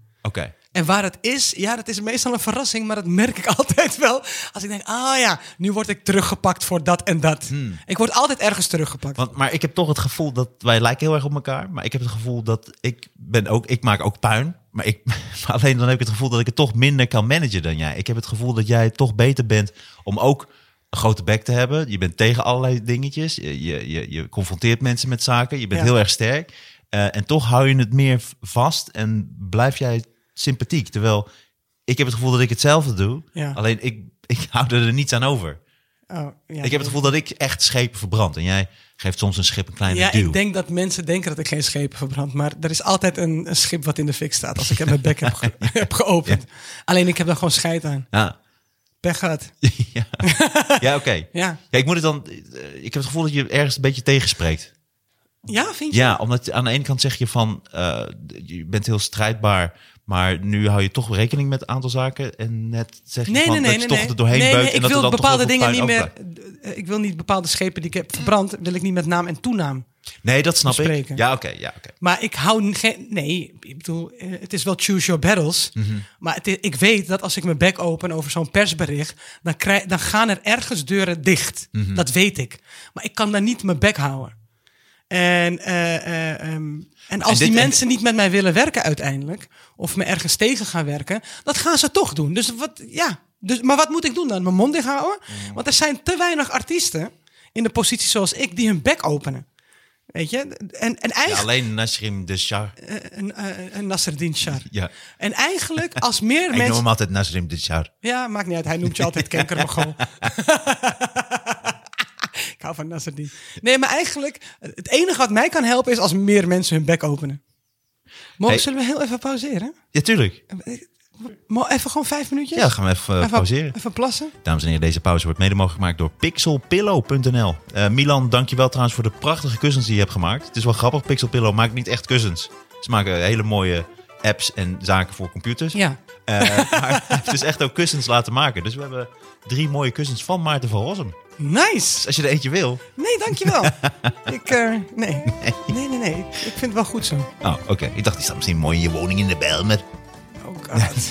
S2: En waar het is, ja, dat is meestal een verrassing, maar dat merk ik altijd wel. Als ik denk, ah ja, nu word ik teruggepakt voor dat en dat.
S3: Hmm.
S2: Ik word altijd ergens teruggepakt.
S3: Want, maar ik heb toch het gevoel dat wij lijken heel erg op elkaar. Maar ik heb het gevoel dat ik ben ook, ik maak ook puin. Maar, ik, maar alleen dan heb ik het gevoel dat ik het toch minder kan managen dan jij. Ik heb het gevoel dat jij toch beter bent om ook een grote bek te hebben. Je bent tegen allerlei dingetjes. Je, je, je, je confronteert mensen met zaken. Je bent
S2: Ja.
S3: heel erg sterk. Eh, en toch hou je het meer v- vast en blijf jij sympathiek. Terwijl ik heb het gevoel dat ik hetzelfde doe.
S2: Ja.
S3: Alleen ik, ik hou er niets aan over.
S2: Oh, ja,
S3: Ik heb het gevoel dat ik echt schepen verbrand. En jij geeft soms een schip een kleine
S2: Ja,
S3: duw.
S2: ik denk dat mensen denken dat ik geen schepen verbrand. Maar er is altijd een, een schip wat in de fik staat. Als ik mijn bek heb, ge- heb geopend. Alleen ik heb daar gewoon scheid aan.
S3: Ja,
S2: Pech gehad.
S3: ja. ja oké.
S2: Ja.
S3: Ja, ik moet het dan. eh, Ik heb het gevoel dat je ergens een beetje tegenspreekt.
S2: Ja, vind je?
S3: Ja, omdat aan de ene kant zeg je van eh, je bent heel strijdbaar, maar nu hou je toch rekening met een aantal zaken. En net zeg je
S2: Nee,
S3: van
S2: nee,
S3: dat
S2: nee. nee,
S3: je toch
S2: nee.
S3: er doorheen
S2: nee,
S3: beukt.
S2: nee,
S3: en
S2: ik
S3: dat er
S2: wil
S3: dan toch
S2: bepaalde
S3: heel veel
S2: dingen niet
S3: puin
S2: meer.
S3: overblijft.
S2: eh, Ik wil niet bepaalde schepen die ik heb verbrand. Wil ik niet met naam en toenaam.
S3: Nee, dat snap
S2: bespreken.
S3: ik. Ja, oké. ja, oké.
S2: Maar ik hou n- geen. Nee, ik bedoel, eh, het is wel choose your battles.
S3: Mhm.
S2: Maar het i- ik weet dat als ik mijn bek open over zo'n persbericht, dan, krijg, dan gaan er ergens deuren dicht.
S3: Mhm.
S2: Dat weet ik. Maar ik kan daar niet mijn bek houden. En, eh, eh, ehm, en als
S3: dit-
S2: die
S3: en-
S2: mensen niet met mij willen werken uiteindelijk, of me ergens tegen gaan werken, dat gaan ze toch doen.
S3: Mm.
S2: Dus wat, ja. Dus, maar wat moet ik doen dan? Mijn mond dicht houden? Want er zijn te weinig artiesten. in de positie zoals ik die hun bek openen. Weet je? En, en
S3: Ja,
S2: eigenlijk...
S3: alleen Nasrim de Shah.
S2: eh, een, eh, een Nasreddin Shah.
S3: Ja.
S2: En eigenlijk, als meer
S3: Ik noem
S2: mensen...
S3: hem altijd Nasrim de Shah.
S2: Ja, maakt niet uit. Hij noemt je altijd kankermogol. Ik hou van Nasreddin. Nee, maar eigenlijk, het enige wat mij kan helpen is als meer mensen hun bek openen. Mogen
S3: Hey.
S2: zullen we heel even pauzeren?
S3: Ja, tuurlijk.
S2: Mo- even gewoon vijf minuutjes?
S3: Ja, dan gaan we even eh,
S2: even,
S3: pauzeren.
S2: Even plassen.
S3: Dames en heren, deze pauze wordt mede mogelijk gemaakt door pixelpillow.nl. Eh Milan, dankjewel trouwens voor de prachtige kussens die je hebt gemaakt. Het is wel grappig, Pixelpillow maakt niet echt kussens. Ze maken hele mooie apps en zaken voor computers.
S2: Ja.
S3: Eh, maar het is echt ook kussens laten maken. Dus we hebben drie mooie kussens van Maarten van Rossum.
S2: Nice.
S3: Dus als je er eentje wil...
S2: Nee, dankjewel. ik, eh, nee. Nee, nee, nee. Ik vind het wel goed zo.
S3: Oh, oké. Ik dacht, die staat misschien mooi in je woning in de Bijlmer.
S2: Oh god.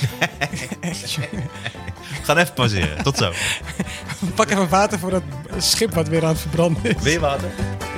S2: Echt, jongen.
S3: We gaan even pauzeren. Tot zo.
S2: Pak even water voor dat schip wat weer aan het verbranden is.
S3: Wil je water?